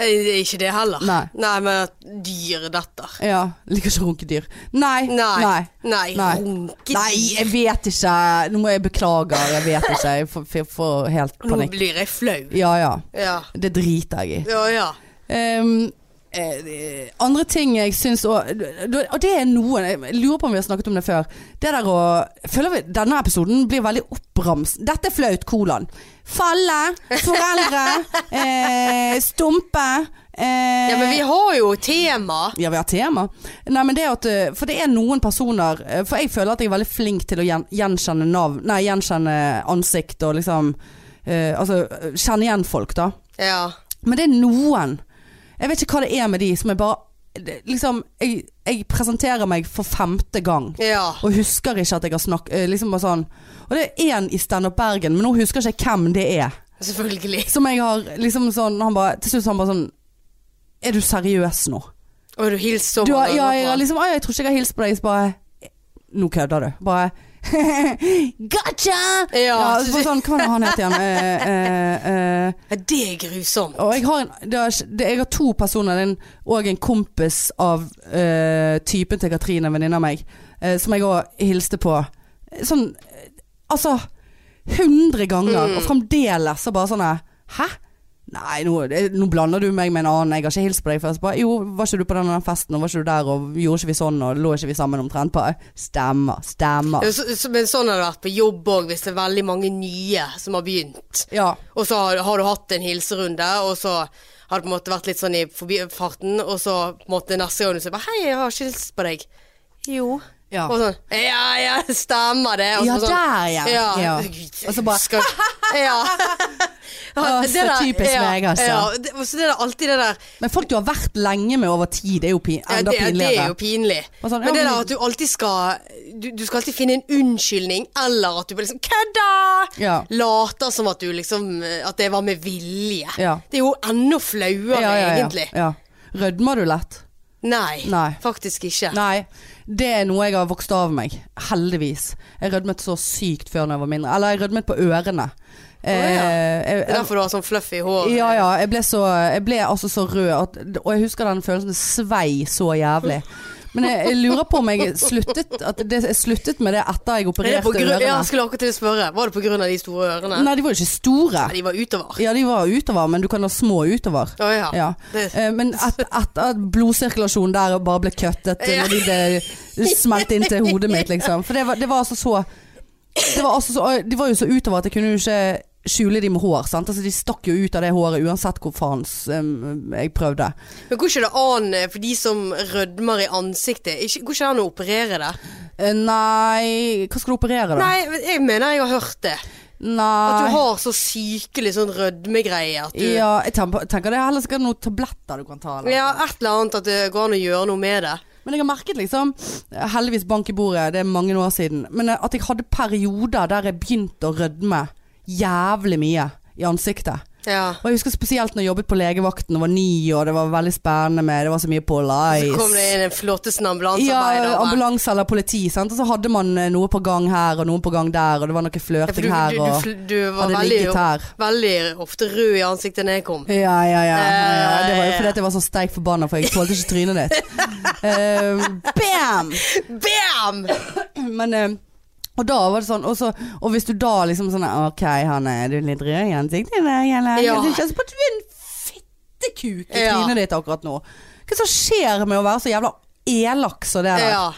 A: Eh, det er Ikke det heller.
B: Nei.
A: men at dyr detter.
B: Ja. Liker ikke runkedyr. Nei.
A: Nei.
B: Nei.
A: Nei.
B: Nei.
A: Runke
B: Nei, jeg vet ikke. Nå må jeg beklage. Jeg vet ikke. Jeg får, får- får helt
A: Nå
B: panikk.
A: blir jeg flau.
B: Ja ja.
A: Ja.
B: Det driter jeg i.
A: Ja, ja.
B: Ehm, eh, andre ting jeg syns òg Og det er noen Jeg lurer på om vi har snakket om det før. Det der å jeg føler vi, Denne episoden blir veldig opprams. Dette er flaut, kolon. Falle, foreldre, eh, stumpe. Eh,
A: ja, men vi har jo tema.
B: ja, vi har tema. Nei, men det at, eh, for det er noen personer eh, For jeg føler at jeg er veldig flink til å gjen, gjenkjenne navn Nei, gjenkjenne ansikt og liksom eh, Altså eh, kjenne igjen folk, da.
A: Ja.
B: Men det er noen Jeg vet ikke hva det er med de som jeg bare det- Liksom Jeg, jeg presenterer meg for femte gang.
A: Ja.
B: Og husker ikke at jeg har snakket liksom bare sånn. Og det er én i Stand Up Bergen, men nå husker jeg ikke hvem det er.
A: Selvfølgelig.
B: Som jeg har liksom sånn han bare, Til slutt så han bare sånn Er du seriøs nå?
A: Og du hilser så
B: Du har,
A: mange
B: ja, jeg
A: ganger
B: har
A: på.
B: liksom «Ai, Jeg tror ikke jeg har hilst på deg. Så bare Nå kødder du. Bare Gotcha!
A: Ja.
B: så bare sånn, hva var det han het igjen? Eh, eh, eh,
A: Ja, det er grusomt.
B: og jeg har, en, det er, ikke- det, jeg har to personer det er en, og en kompis av eh, typen til Katrine, en venninne av meg, eh, som jeg òg hilste på. Sånn
A: Mm.
B: eh, Altså 100 ganger, og fremdeles så bare sånn her, Hæ? Nei, nå, det- nå blander du meg med en annen. Jeg har ikke hilst på deg før. Så bare, jo, var ikke du på den og den festen, og var ikke du der, og gjorde ikke vi sånn, og lå ikke vi sammen omtrent? Bare, stemmer, stemmer.
A: Ja, så- så- Men sånn har det vært på jobb òg, hvis det er veldig mange nye som har begynt.
B: Ja.
A: Og så har, har du hatt en hilserunde, og så har det på en måte vært litt sånn i forbifarten, og så på en måte neste gang du sier bare, 'Hei, jeg har ikke hilst på deg'. Jo.
B: Ja.
A: Og sånn 'Ja, ja, stemmer det'. Og
B: Ja,
A: så sånn,
B: der, ja.
A: ja.
B: Ja.
A: Gud,
B: Og så bare,
A: skal- Ja.
B: Å, så
A: der-
B: typisk meg, altså.
A: Ja, det, og så det er det alltid det der
B: Men folk du har vært lenge med over tid, det er jo pin
A: ja,
B: enda
A: det, ja, det er jo
B: pinligere.
A: pinlig.
B: Og sånn, ja,
A: men det
B: men-
A: der at du alltid skal du, du skal alltid finne en unnskyldning, eller at du bare liksom 'Kødda!'
B: Ja.
A: Later som at du liksom eh, At det var med vilje.
B: Ja.
A: Det er jo enda flauere,
B: ja, ja, ja,
A: egentlig.
B: ja. Rødmer du lett?
A: Nei,
B: Nei.
A: faktisk ikke.
B: Nei, det er noe jeg har vokst av meg. Heldigvis. Jeg rødmet så sykt før da jeg var mindre. Eller jeg rødmet på ørene. Eh,
A: Å, ja.
B: jeg,
A: Det er derfor du har sånn fluffy hår.
B: Ja, ja. Jeg ble, så, jeg ble altså så rød, at, og jeg husker den følelsen det svei så jævlig. Men jeg, jeg lurer på om jeg sluttet, at det, jeg sluttet med det etter jeg
A: Er det på
B: opererte
A: grunn, ja,
B: ørene.
A: jeg skulle akkurat til å spørre. Var det pga. de store ørene?
B: Nei, de var jo ikke store.
A: De var utover.
B: Ja, de var utover, men du kan ha små utover.
A: Å ja.
B: Ja.
A: Det-
B: Eh, Men et- etter at blodsirkulasjonen der bare ble kuttet
A: Ja.
B: når de det smelte inn til hodet mitt, liksom. For det var, det var altså så det var, altså så de var jo så utover at jeg kunne jo ikke skjule de med hår. Sant? Altså, de stakk jo ut av det håret uansett hvor faen eh, jeg prøvde.
A: Men går ikke det an eh, for de som rødmer i ansiktet? Ikke, går ikke det an å operere det?
B: Eh, Nei Hva skal du operere, da?
A: Nei, men jeg mener jeg har hørt det. At
B: Nei.
A: du har så sykelig sånn rødmegreie at du ja.
B: Ja, jeg tenker, tenker det er heller sikkert noen tabletter du kan ta. Eller.
A: et eller annet at det går an å gjøre noe med det.
B: Men jeg har merket liksom Heldigvis bank i bordet, det er mange år siden. Men eh, at jeg hadde perioder der jeg begynte å rødme jævlig mye i ansiktet.
A: Ja.
B: Og jeg husker spesielt når jeg jobbet på legevakten og var ny, og det var veldig spennende med Det var så mye på
A: Så kom det
B: lice.
A: inn en flottesen
B: Ja,
A: ambulansearbeider.
B: ambulanse eller politi, sant. Og så hadde man eh, noe på gang her og noe på gang der, og det var noe
A: Ja, for du,
B: flørting
A: du,
B: her
A: du,
B: og
A: fl- du var
B: hadde
A: veldig,
B: ligget her.
A: veldig ofte rød i ansiktet da jeg kom.
B: Ja, ja, ja. ja, ja. Det var jo
A: Eh,
B: fordi at jeg var så steik forbanna, for jeg tålte ikke trynet ditt. Eh, bam!
A: Bam!
B: Men eh, Og da var det sånn Og, så, og hvis du da liksom sånn Ok, han er du litt rød i ansiktet i dag, eller?
A: Ja.
B: Jeg synes ikke- altså, Du er en fittekuk i
A: Ja.
B: trynet ditt akkurat nå. Hva som skjer med å være så jævla elak som det der?
A: Ja.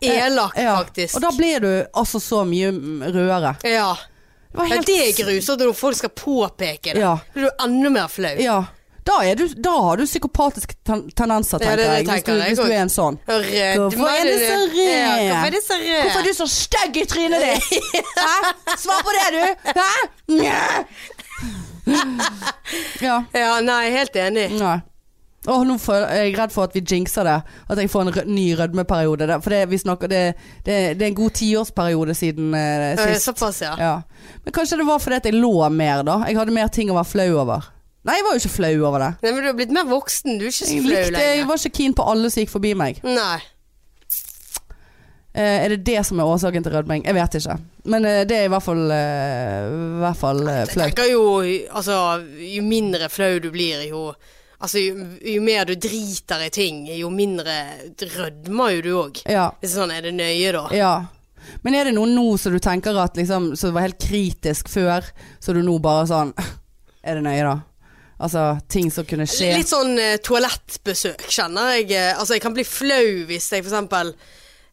A: Elak,
B: Ja.
A: faktisk.
B: Og da blir du altså så mye mm, rødere.
A: ja.
B: Det var
A: Men
B: helt-
A: det er grusomt når folk skal påpeke det.
B: Ja.
A: Blir du enda mer flau.
B: Ja. Da, er du, da har du psykopatiske ten tendenser,
A: Ja, det-
B: tenker
A: det
B: jeg. Hvis
A: tenker
B: du,
A: jeg
B: hvis du
A: også.
B: er en sånn.
A: Rød.
B: Hvorfor er det så rød?
A: eh, Ja, hvorfor er det så rød?
B: Hvorfor er du så stygg i trynet ditt? Hæ? Svar på det, du! Hæ? Nja. Ja.
A: Ja, nei, helt enig.
B: Nei. Åh, nå får- er jeg redd for at vi jinxer det. At jeg får en rød, ny rødmeperiode. Det- For det, vi snakker, det, det, det er en god tiårsperiode siden eh,
A: Ja,
B: sist.
A: Såpass, ja.
B: Ja. Men kanskje det var fordi at jeg lå mer, da. Jeg hadde mer ting å være flau over. Nei, jeg var jo ikke flau over det.
A: Nei, men du har blitt mer voksen. Du er ikke så
B: Jeg, eh,
A: flau
B: likte, jeg
A: lenger.
B: var ikke keen på alle som gikk forbi meg.
A: Nei.
B: Eh, er det det som er årsaken til rødming? Jeg vet ikke. Men eh, det er i hvert fall, eh, i hvert fall eh,
A: Jeg
B: flaut.
A: tenker jo Altså, jo mindre flau du blir, jo Altså, jo, jo mer du driter i ting, jo mindre rødmer jo du òg.
B: Ja,
A: Hvis sånn er det nøye, da.
B: ja. Men er det noe nå som du tenker at liksom, som var helt kritisk før, så du nå bare sånn Er det nøye, da? Altså ting som kunne skje.
A: Litt sånn eh, toalettbesøk, kjenner jeg. eh, Altså, jeg kan bli flau hvis jeg for eksempel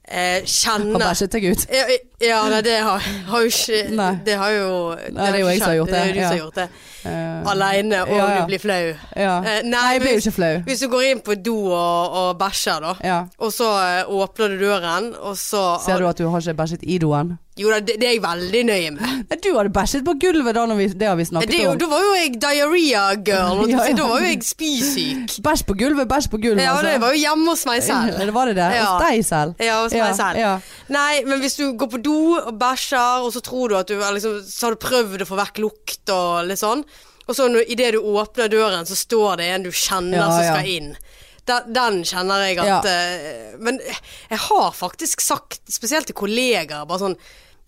A: eh,
B: Har
A: kjenner
B: bæsjet deg ut.
A: Ja, ja, nei, det har, har jo ikke
B: Nei.
A: Det har jo
B: Nei, det er jo jeg som har gjort
A: Det er
B: det,
A: jo du som har
B: ja.
A: gjort det.
B: Eh,
A: Aleine, og
B: Ja, ja.
A: du blir flau.
B: ja.
A: Eh, nei,
B: Nei, jeg ble jo ikke flau.
A: Hvis du går inn på do og, og bæsjer, da.
B: Ja.
A: Og så eh, åpner du døren, og så
B: Ser du at du har ikke bæsjet i doen?
A: Jo da, det, det er jeg veldig nøye med.
B: Nei, Du hadde bæsjet på gulvet da, når vi, det har vi snakket
A: Det, er jo-
B: om.
A: da var jo jeg diaré-girl.
B: Ja, ja.
A: Da var jo jeg spysyk.
B: Bæsj på gulvet, bæsj på gulvet.
A: Ja,
B: altså.
A: det var jo hjemme hos meg selv.
B: Ja, det var det det.
A: Ja.
B: Hos deg selv.
A: Ja, hos meg selv.
B: Ja.
A: Nei, men hvis du går på do og bæsjer, og så tror du at du eller liksom, Så har du prøvd å få vekk lukt og litt sånn. Og så idet du åpner døren, så står det en du kjenner
B: Ja,
A: som
B: ja.
A: skal inn. Den, den kjenner jeg at eh, Men jeg har faktisk sagt, spesielt til kollegaer, bare sånn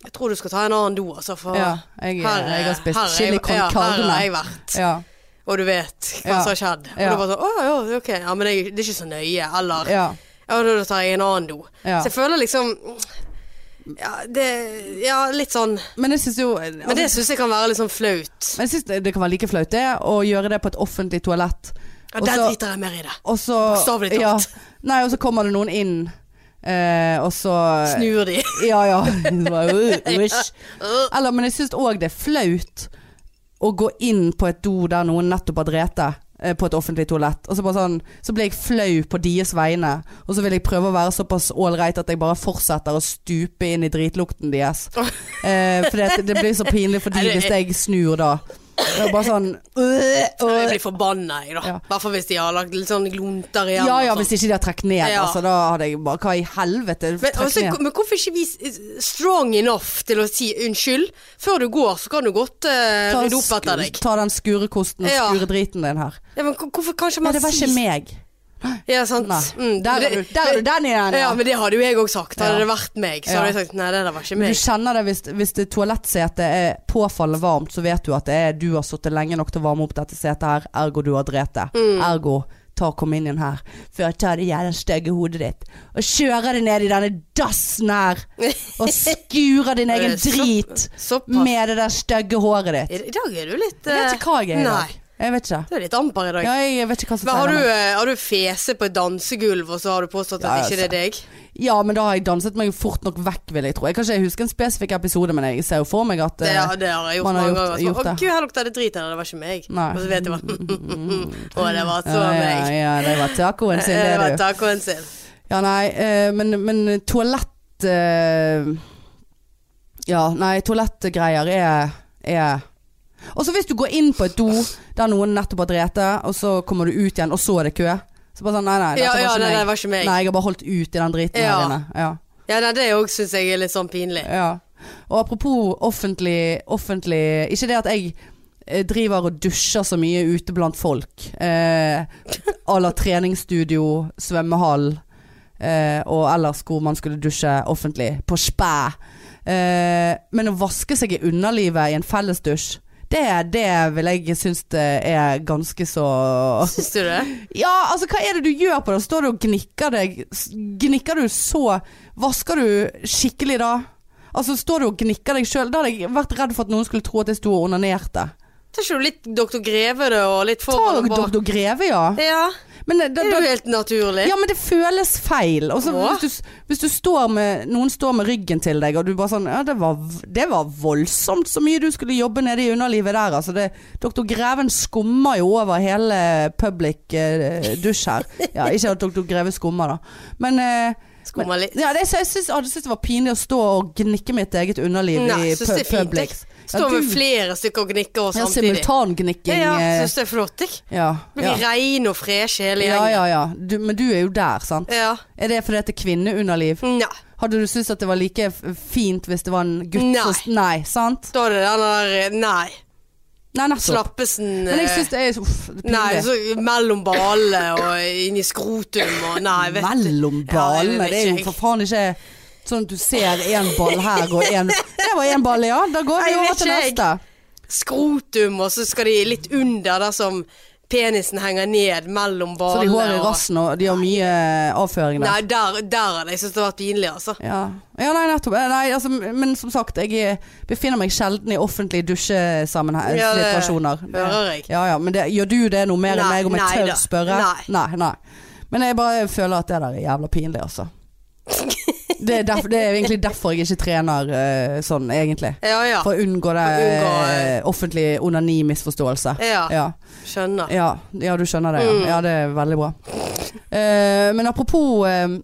A: Jeg tror du skal ta en annen do, altså. For
B: Ja, jeg,
A: her,
B: jeg har
A: her er
B: spist
A: jeg-
B: chili con
A: ja, Her
B: carne.
A: har jeg vært.
B: Ja,
A: Og du vet hva
B: Ja.
A: som har skjedd. Og
B: Ja.
A: da bare sånn Å ja, ok. Ja, men jeg, det er ikke så nøye. Eller
B: ja.
A: ja, da da tar jeg en annen do.
B: Ja.
A: Så jeg føler liksom Ja, det, ja litt sånn.
B: Men jeg syns jo altså,
A: Men det syns jeg kan være litt sånn flaut.
B: jeg synes det, det kan være like flaut det å gjøre det på et offentlig toalett.
A: Ja,
B: Og
A: Der
B: så-
A: driter jeg mer i det.
B: og så
A: Bokstavelig talt.
B: nei, og så kommer det noen inn, eh, og så
A: Snur de.
B: Ja, ja. Bare, uh, uish. Eller, men jeg syns òg det er flaut å gå inn på et do der noen nettopp har drete. eh, På et offentlig toalett. Og så, bare sånn, så blir jeg flau på deres vegne. Og så vil jeg prøve å være såpass ålreit at jeg bare fortsetter å stupe inn i dritlukten deres. Eh, for det, det blir så pinlig for
A: Nei,
B: de
A: det-
B: hvis jeg snur da. Det er bare sånn øh, og,
A: Jeg blir forbanna, jeg, da. I
B: Ja.
A: hvert fall hvis de har lagt litt sånn glunter igjen.
B: Ja
A: og
B: ja,
A: sånn.
B: hvis ikke de har trukket ned,
A: Ja.
B: altså. Da hadde jeg bare Hva i helvete?
A: Men,
B: Trekk
A: altså,
B: ned.
A: men hvorfor ikke vi s- strong enough til å si unnskyld? Før du går, så kan du godt eh,
B: Ta,
A: rydde opp etter
B: sku-
A: deg.
B: ta den skurekosten og
A: Ja.
B: skure driten din her.
A: Ja, men hvor- hvorfor kan ikke
B: Ja,
A: man
B: det var ikke meg.
A: Ja, sant.
B: Nei.
A: Mm,
B: Der er
A: det-
B: du, der er du den igjen.
A: Ja,
B: Ja.
A: men det hadde jo jeg òg sagt. Hadde
B: Ja.
A: det vært meg, så
B: Ja.
A: hadde jeg sagt nei, det der var ikke
B: Men
A: meg.
B: du kjenner det hvis, hvis det toalettsetet er påfallende varmt, så vet du at det er du har sittet lenge nok til å varme opp dette setet her, ergo du har drept det.
A: Mm.
B: Ergo ta kom inn igjen her før jeg tar det jævla stygge hodet ditt og kjører det ned i denne dassen her og skurer din egen
A: Eh, så-
B: drit
A: Såpass.
B: med det der stygge håret ditt.
A: I i dag er du litt
B: Jeg vet
A: eh,
B: ikke hva jeg er i dag.
A: Nei.
B: Jeg vet ikke.
A: Du er litt amper i dag.
B: Ja, jeg vet ikke hva som
A: Men har
B: feiler
A: du,
B: meg.
A: eh, har du fese på et dansegulv, og så har du påstått at
B: Ja, ja,
A: ikke det er deg?
B: Ja, men da har jeg danset meg fort nok vekk, vil jeg tro. Jeg kan ikke huske en spesifikk episode, men jeg ser jo for meg at
A: Det,
B: eh,
A: det har jeg gjort
B: man har
A: mange
B: gjort-
A: ganger. Sånn,
B: gjort
A: Å
B: det.
A: gud, her lukter det drit her, det var ikke meg.
B: Nei.
A: Og så vet jeg hva Å, det var så
B: ja, ja,
A: meg. Eh,
B: ja, det var tacoen sin, det
A: Det var
B: er det jo.
A: tacoen sin.
B: Ja, nei, eh, men, men toalett eh, Ja, nei, toalettgreier er, er Og så hvis du går inn på et do der noen nettopp har drete, og så kommer du ut igjen, og så er det kø. Så bare sånn, nei, nei, dette
A: Ja, ja,
B: var ikke
A: nei, det
B: meg.
A: var ikke meg.
B: Nei, jeg har bare holdt ut i den driten
A: Ja.
B: her inne. Ja.
A: Ja, nei, det òg syns jeg er litt sånn pinlig.
B: Ja. Og apropos offentlig, offentlig Ikke det at jeg eh, driver og dusjer så mye ute blant folk. Eh, à la treningsstudio, svømmehall eh, og ellers hvor man skulle dusje offentlig. På spæ. Eh, men å vaske seg i underlivet i en fellesdusj, det, det vil jeg synes det er ganske så
A: Syns du det?
B: ja, altså hva er det du gjør på det? Står du og gnikker deg? S- Gnikker du så Vasker du skikkelig da? Altså står du og gnikker deg sjøl? Da hadde jeg vært redd for at noen skulle tro at jeg sto og onanerte.
A: Tar ikke du litt Dr. Greve det, og litt
B: Ta
A: foran og bak?
B: doktor Greve, ja.
A: Ja,
B: Men, eh,
A: det
B: det- det-
A: er
B: det-
A: jo helt naturlig.
B: ja, men det føles feil. Og så
A: Åh.
B: hvis, du s- hvis du står med Noen står med ryggen til deg, og du bare sånn Ja, det var, v- det var voldsomt så mye du skulle jobbe nede i underlivet der, altså. Det, Doktor Greven skummer jo over hele public eh, dusj her. Ja, ikke at doktor Greve skummer, da. Men eh,
A: Skummer litt.
B: ja, det, så jeg syns jeg synes det var pinlig å stå og gnikke mitt eget underliv
A: Nei,
B: i
A: syns det
B: pu
A: er fint,
B: public.
A: jeg. Står med flere stykker og gnikker og
B: ja,
A: samtidig.
B: simultangnikking.
A: Ja,
B: eh,
A: syns det er flott, jeg.
B: ja,
A: Blir
B: ja.
A: rein og fresh hele
B: ja,
A: gjengen.
B: ja, ja. Du, men du er jo der, sant?
A: Ja.
B: Er det fordi at det er kvinneunderliv?
A: Nei.
B: Hadde du syntes at det var like f- fint hvis det var en gutt
A: Nei.
B: som Nei, sant?
A: Da er det den der eh, Nei.
B: Nei, nettopp.
A: Slappesen
B: Men jeg
A: eh,
B: syns det er uff, det er
A: Nei,
B: pinlig.
A: så mellom ballene og inn i skrotum og Nei, vet du.
B: Mellom
A: Ja,
B: ballene.
A: jeg vet
B: Det er
A: ikke,
B: jo for faen ikke sånn at du ser én ball her og én Det var én ball, ja. Da går vi
A: Jeg
B: over
A: vet
B: til
A: ikke, jeg.
B: neste.
A: Skrotum, og så skal de litt under der som penisen henger ned mellom
B: Så
A: ballene.
B: de har i
A: og-
B: rassen, og de har mye eh, avføring der.
A: Nei, der, der hadde jeg syntes det hadde vært pinlig, altså.
B: Ja. ja, nei, nettopp. Eh, Nei, altså, men som sagt, jeg eh, befinner meg sjelden i offentlige
A: Ja, det
B: dusjesituasjoner.
A: hører jeg.
B: Ja, ja, men det, gjør du det noe mer enn
A: Nei,
B: meg om
A: nei
B: jeg
A: da.
B: tør spørre?
A: Nei.
B: nei. nei. Men jeg bare føler at det der er jævla pinlig, altså. Det er, derfor, det er egentlig derfor jeg ikke trener eh, sånn, egentlig.
A: Ja ja,
B: For å unngå det
A: For å unngå,
B: eh, offentlig onani-misforståelse.
A: Ja. Mm.
B: ja.
A: skjønner.
B: Ja, ja du skjønner det. Ja, ja det er veldig bra. Eh, men apropos eh,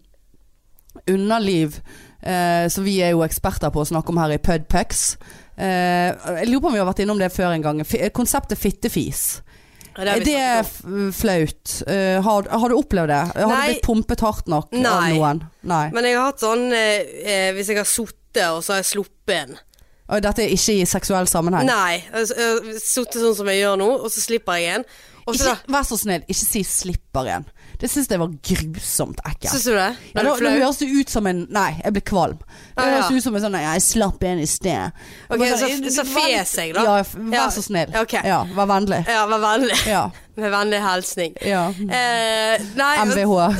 B: underliv, eh, som vi er jo eksperter på å snakke om her i Pudpex. Eh, jeg lurer på om vi har vært innom det før en gang. F eh, konseptet fittefis.
A: Ja, har
B: Er
A: vi
B: det
A: snakket om.
B: f- flaut? Eh, har, har du opplevd det? Har
A: Nei.
B: du blitt pumpet hardt nok av
A: Nei.
B: noen? Nei.
A: Men jeg har hatt sånn eh, eh, Hvis jeg har sittet, og så har jeg sluppet en.
B: Og dette er ikke i seksuell sammenheng?
A: Nei. altså, jeg har Sittet sånn som jeg gjør nå, og så slipper jeg en. Og så
B: Ikke, vær så snill, ikke si 'slipper en'. Det syns jeg var grusomt ekkelt.
A: Syns du det?
B: Ja,
A: Er du
B: da, da
A: flau?
B: høres det ut som en Nei, jeg ble kvalm. Det
A: Ah, ja.
B: høres ut som en sånn Jeg slapp en i sted.
A: Ok,
B: Bare
A: så-
B: sånn,
A: så
B: vær-
A: fes jeg, da.
B: Ja, f- vær
A: Ja,
B: så snill.
A: ok.
B: Ja, vær vennlig.
A: Ja, vær vennlig.
B: Ja. Mm.
A: Med vennlig hilsning.
B: ja.
A: Eh, nei,
B: MVH.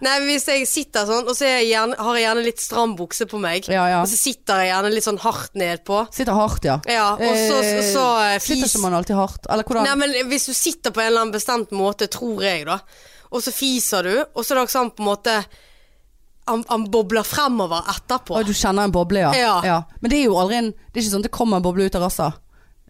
A: Nei, men hvis jeg sitter sånn, og så er jeg gjerne, har jeg gjerne litt stram bukse på meg,
B: Ja, ja.
A: og så sitter jeg gjerne litt sånn hardt nedpå.
B: Sitter hardt, ja.
A: Ja, og så, så, så eh,
B: Sitter
A: fis
B: ikke man alltid hardt? Eller hvordan?
A: Nei, men hvis du sitter på en eller annen bestemt måte, tror jeg da, og så fiser du, og så er det også sånn på en måte Han, han bobler fremover etterpå.
B: Å, du kjenner en boble, ja.
A: Ja.
B: Men det er jo aldri en Det er ikke sånn at det kommer en boble ut av rassa.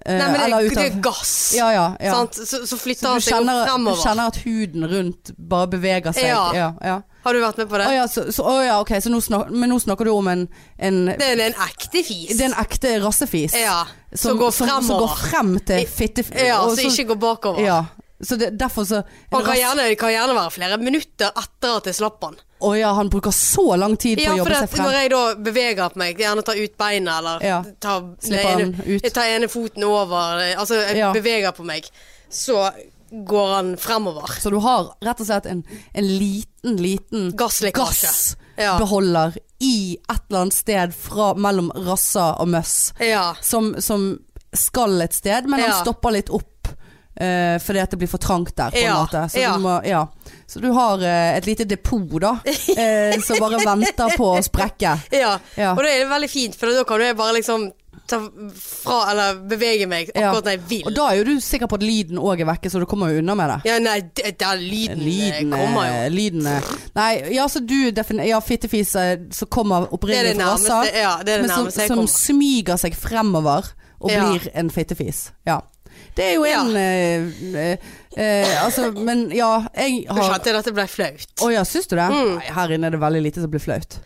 B: Eh,
A: Nei, men det,
B: eller ut
A: det
B: av
A: er gass.
B: Ja, ja. ja.
A: Sant? Så, så flytter
B: Du
A: han seg opp
B: kjenner, du
A: fremover.
B: kjenner at huden rundt bare beveger seg.
A: Ja.
B: ja, ja.
A: Har du vært med på
B: Å
A: det?
B: ja, så, så, å ja, ok, så nå snakker, men nå snakker du om en, en det,
A: Det er en ekte fis.
B: er en ekte rassefis.
A: Ja, som
B: som,
A: går
B: som, som går
A: fremover.
B: frem til fitte...
A: ja,
B: og
A: som ikke går bakover.
B: ja. Så det, derfor så
A: Han kan
B: rass-
A: gjerne, det kan gjerne være flere minutter etter at jeg slapp han.
B: Å ja, han bruker så lang tid på
A: Ja,
B: å
A: for
B: jobbe
A: det,
B: seg
A: at
B: frem.
A: når jeg da beveger på meg, gjerne tar ut beina eller
B: Ja.
A: tar,
B: Slipper
A: den ene-
B: han ut.
A: Jeg tar ene foten over, eh, altså jeg
B: Ja.
A: beveger på meg, så går han fremover.
B: Så du har rett og slett en, en liten, liten
A: Gasslekkasje. Ja.
B: gassbeholder i et eller annet sted fra, mellom rassa og møss.
A: Ja.
B: Som, som skal et sted, men han
A: Ja.
B: stopper litt opp. eh, fordi at det blir for trangt der, på
A: Ja,
B: en måte. Så,
A: ja.
B: du må, ja. så du har eh, et lite depot, da. eh, som bare venter på å sprekke.
A: Ja.
B: Ja.
A: og det er veldig fint, for da kan jeg bare liksom ta fra, eller bevege meg
B: Ja.
A: akkurat når jeg vil.
B: Og da er jo du sikker på at lyden òg er vekke, så du kommer jo unna med det.
A: Ja, nei, det- der lyden, eh,
B: Lyden
A: kommer jo.
B: eh, lyden, eh, Nei, ja, så du definerer Ja, fittefis eh, som kommer
A: Det er det
B: opprinnelig fra
A: nærmeste,
B: rassa.
A: ja, det er det
B: Men som,
A: nærmeste jeg
B: som
A: kommer.
B: smyger seg fremover og
A: Ja.
B: blir en fittefis. Ja. Det er jo
A: Ja.
B: en eh, eh, eh, Altså, men ja, jeg
A: Nå
B: har
A: kjente jeg at det ble flaut.
B: Å ja, syns du det? Nei, her inne er det veldig lite som blir flaut.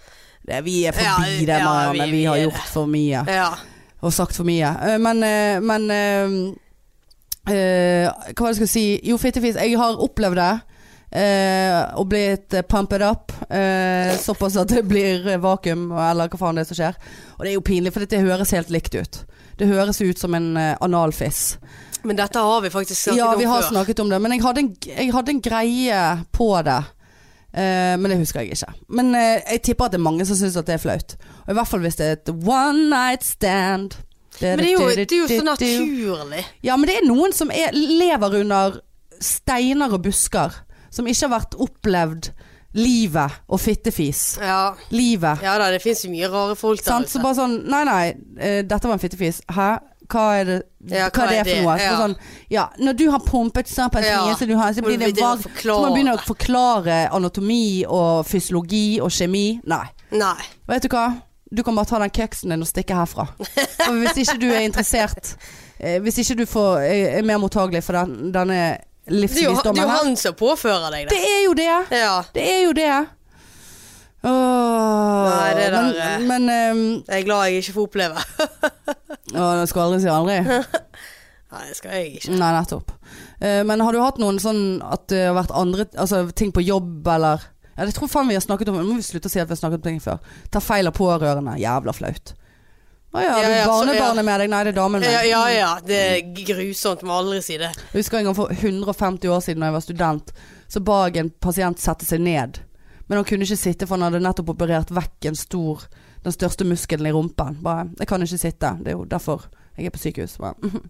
B: Det, vi er forbi
A: Mm. Ja,
B: det,
A: ja,
B: Marianne.
A: vi-
B: vi,
A: vi
B: har
A: er
B: gjort for mye
A: Ja.
B: og sagt for mye. Eh, Men, eh, men eh, eh, Hva var det jeg skulle si? Jo, fittefis. Jeg har opplevd det. eh, og blitt eh, pumped up. eh, såpass at det blir eh, vakuum, eller hva faen det er som skjer. Og det er jo pinlig, for det høres helt likt ut. Det høres ut som en eh, analfiss.
A: Men dette har vi faktisk snakket
B: Ja,
A: om
B: vi har
A: før.
B: snakket om det, men jeg hadde en, jeg hadde en greie på det. Eh, men det husker jeg ikke. Men eh, jeg tipper at det er mange som syns at det er flaut. Og I hvert fall hvis det er et one night stand.
A: Men det er jo, det er jo sånn så naturlig.
B: Ja, men det er noen som er, lever under steiner og busker. Som ikke har vært opplevd livet og fittefis.
A: Ja,
B: Livet.
A: ja da, det fins jo mye rare folk der
B: sant? Så bare sånn Nei, nei, eh, dette var en fittefis. Hæ? Hva er det,
A: Ja,
B: hva er det for noe? Så
A: Ja.
B: bare Sånn, ja, når du har pumpet såpass
A: Ja.
B: mye, så, du har, så
A: Må
B: blir
A: du
B: det
A: begynne å
B: vagt. Så
A: forklare.
B: man begynner å forklare anatomi og fysiologi og kjemi. Nei.
A: Nei.
B: Vet du hva? Du kan bare ta den køksen din og stikke herfra. Og hvis ikke du er interessert eh, Hvis ikke du får, eh, er mer mottagelig for den, denne
A: Det er, jo, det er
B: livsvisdommen
A: jo
B: her
A: han som påfører deg det.
B: Det er jo det!
A: Ja.
B: Det er jo det! Åh,
A: Nei, det der, eh.
B: men, men ehm,
A: Jeg er glad jeg ikke får oppleve.
B: Åh, jeg skal aldri si aldri.
A: Nei, det skal jeg ikke.
B: Nei, nettopp. Eh, men har du hatt noen sånn at det har vært andre altså, ting på jobb eller Ja, det tror faen vi har snakket om Nå må vi slutte å si at vi har snakket om ting før. Ta feil av pårørende. Jævla flaut. Å ja, har
A: Ja,
B: du
A: ja, så-
B: barnebarnet med deg? Nei, det er damen min.
A: Ja, ja, ja. Det er grusomt. Må aldri si det.
B: Jeg husker en gang for 150 år siden da jeg var student, så ba jeg en pasient sette seg ned. Men han kunne ikke sitte, for han hadde nettopp operert vekk en stor, den største muskelen i rumpen. Bare, jeg kan ikke sitte, det er jo derfor jeg er på sykehus. Bare, mhm.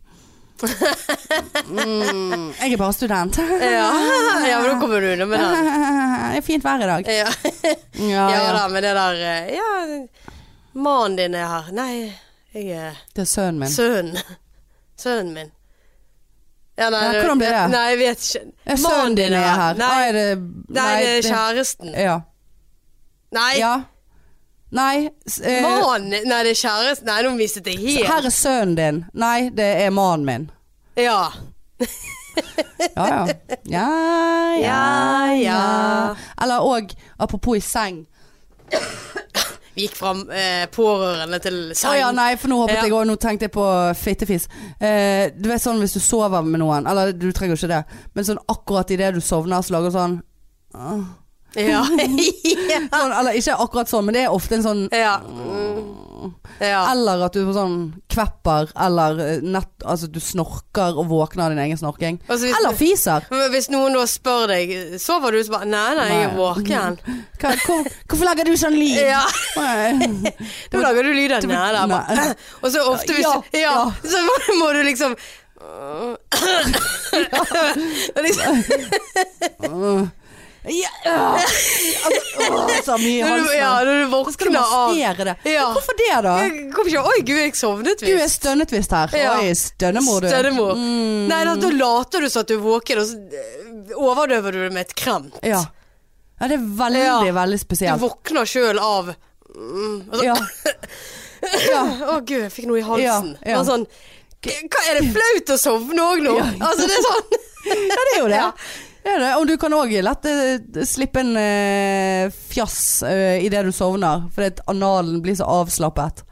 B: mm, jeg er bare student.
A: Ja, ja men da kommer du unna med den.
B: Det er fint vær i dag.
A: Ja,
B: Ja,
A: ja
B: ja.
A: da, men det der eh, Ja, mannen din er her. Nei, jeg er
B: Det er sønnen min.
A: sønnen. Sønnen min. Ja, nei,
B: Ja, hvordan blir det?
A: Nei, jeg vet ikke.
B: Er
A: Mannen
B: Sønnen din er her.
A: Nei,
B: Ah, er det,
A: nei, det er
B: det-
A: kjæresten.
B: Ja.
A: Nei,
B: ja. Nei. s- eh,
A: mannen Nei, det er kjæresten. Nei, nå mistet jeg helt.
B: her er sønnen din. Nei, det er mannen min.
A: Ja.
B: Ja, ja. Ja,
A: Ja, ja.
B: Eller òg, apropos i seng.
A: Vi gikk fra eh, pårørende til
B: Å
A: seng.
B: ja, nei, for nå hoppet
A: Ja.
B: jeg òg. Nå tenkte jeg på fittefis. Eh, du vet sånn hvis du sover med noen, eller du trenger jo ikke det, men sånn akkurat idet du sovner, så lager du sånn,
A: Ja.
B: sånn Eller ikke akkurat sånn, men det er ofte en sånn
A: ja. Mm. ja.
B: Eller at du får sånn kvepper, eller eh, nett Altså du snorker og våkner av din egen snorking.
A: Altså, hvis-
B: eller fiser.
A: Men hvis noen da spør deg Sover du? Så bare Nei, nei, jeg er
B: Nei.
A: våken.
B: Hva, hvor, hvorfor lager du sånn lyd?
A: Ja,
B: Nei.
A: Da lager du lyder. Nei, da.
B: Nei.
A: bare. Og så ofte hvis
B: Ja,
A: Ja.
B: ja.
A: Så må du liksom Og liksom-
B: Ja, øh. altså, åh, så mye i
A: Når du,
B: halsen.
A: ja, når du
B: Så skal
A: våkner
B: du
A: av
B: massere det.
A: Ja.
B: Hvorfor det, da?
A: Jeg kom ikke Oi, gud, jeg sovnet
B: Du er
A: visst.
B: stønnet visst her.
A: Ja.
B: Oi, stønnemor du.
A: Stønnemor.
B: Mm.
A: Nei, da, da later du som at du er våken, og så eh, overdøver du det med et krem.
B: Ja. ja, det er veldig,
A: Ja.
B: veldig
A: Du
B: spesielt.
A: våkner sjøl av mm, altså,
B: Ja. ja.
A: Å gud, jeg fikk noe i halsen.
B: Ja, ja.
A: Og sånn Hva er det flaut å sovne òg nå?
B: Ja.
A: Altså, det er sånn
B: ja, det er jo det.
A: Ja.
B: Det er det. Og du kan òg lett eh, slippe en eh, fjass eh, idet du sovner, fordi at analen blir så avslappet.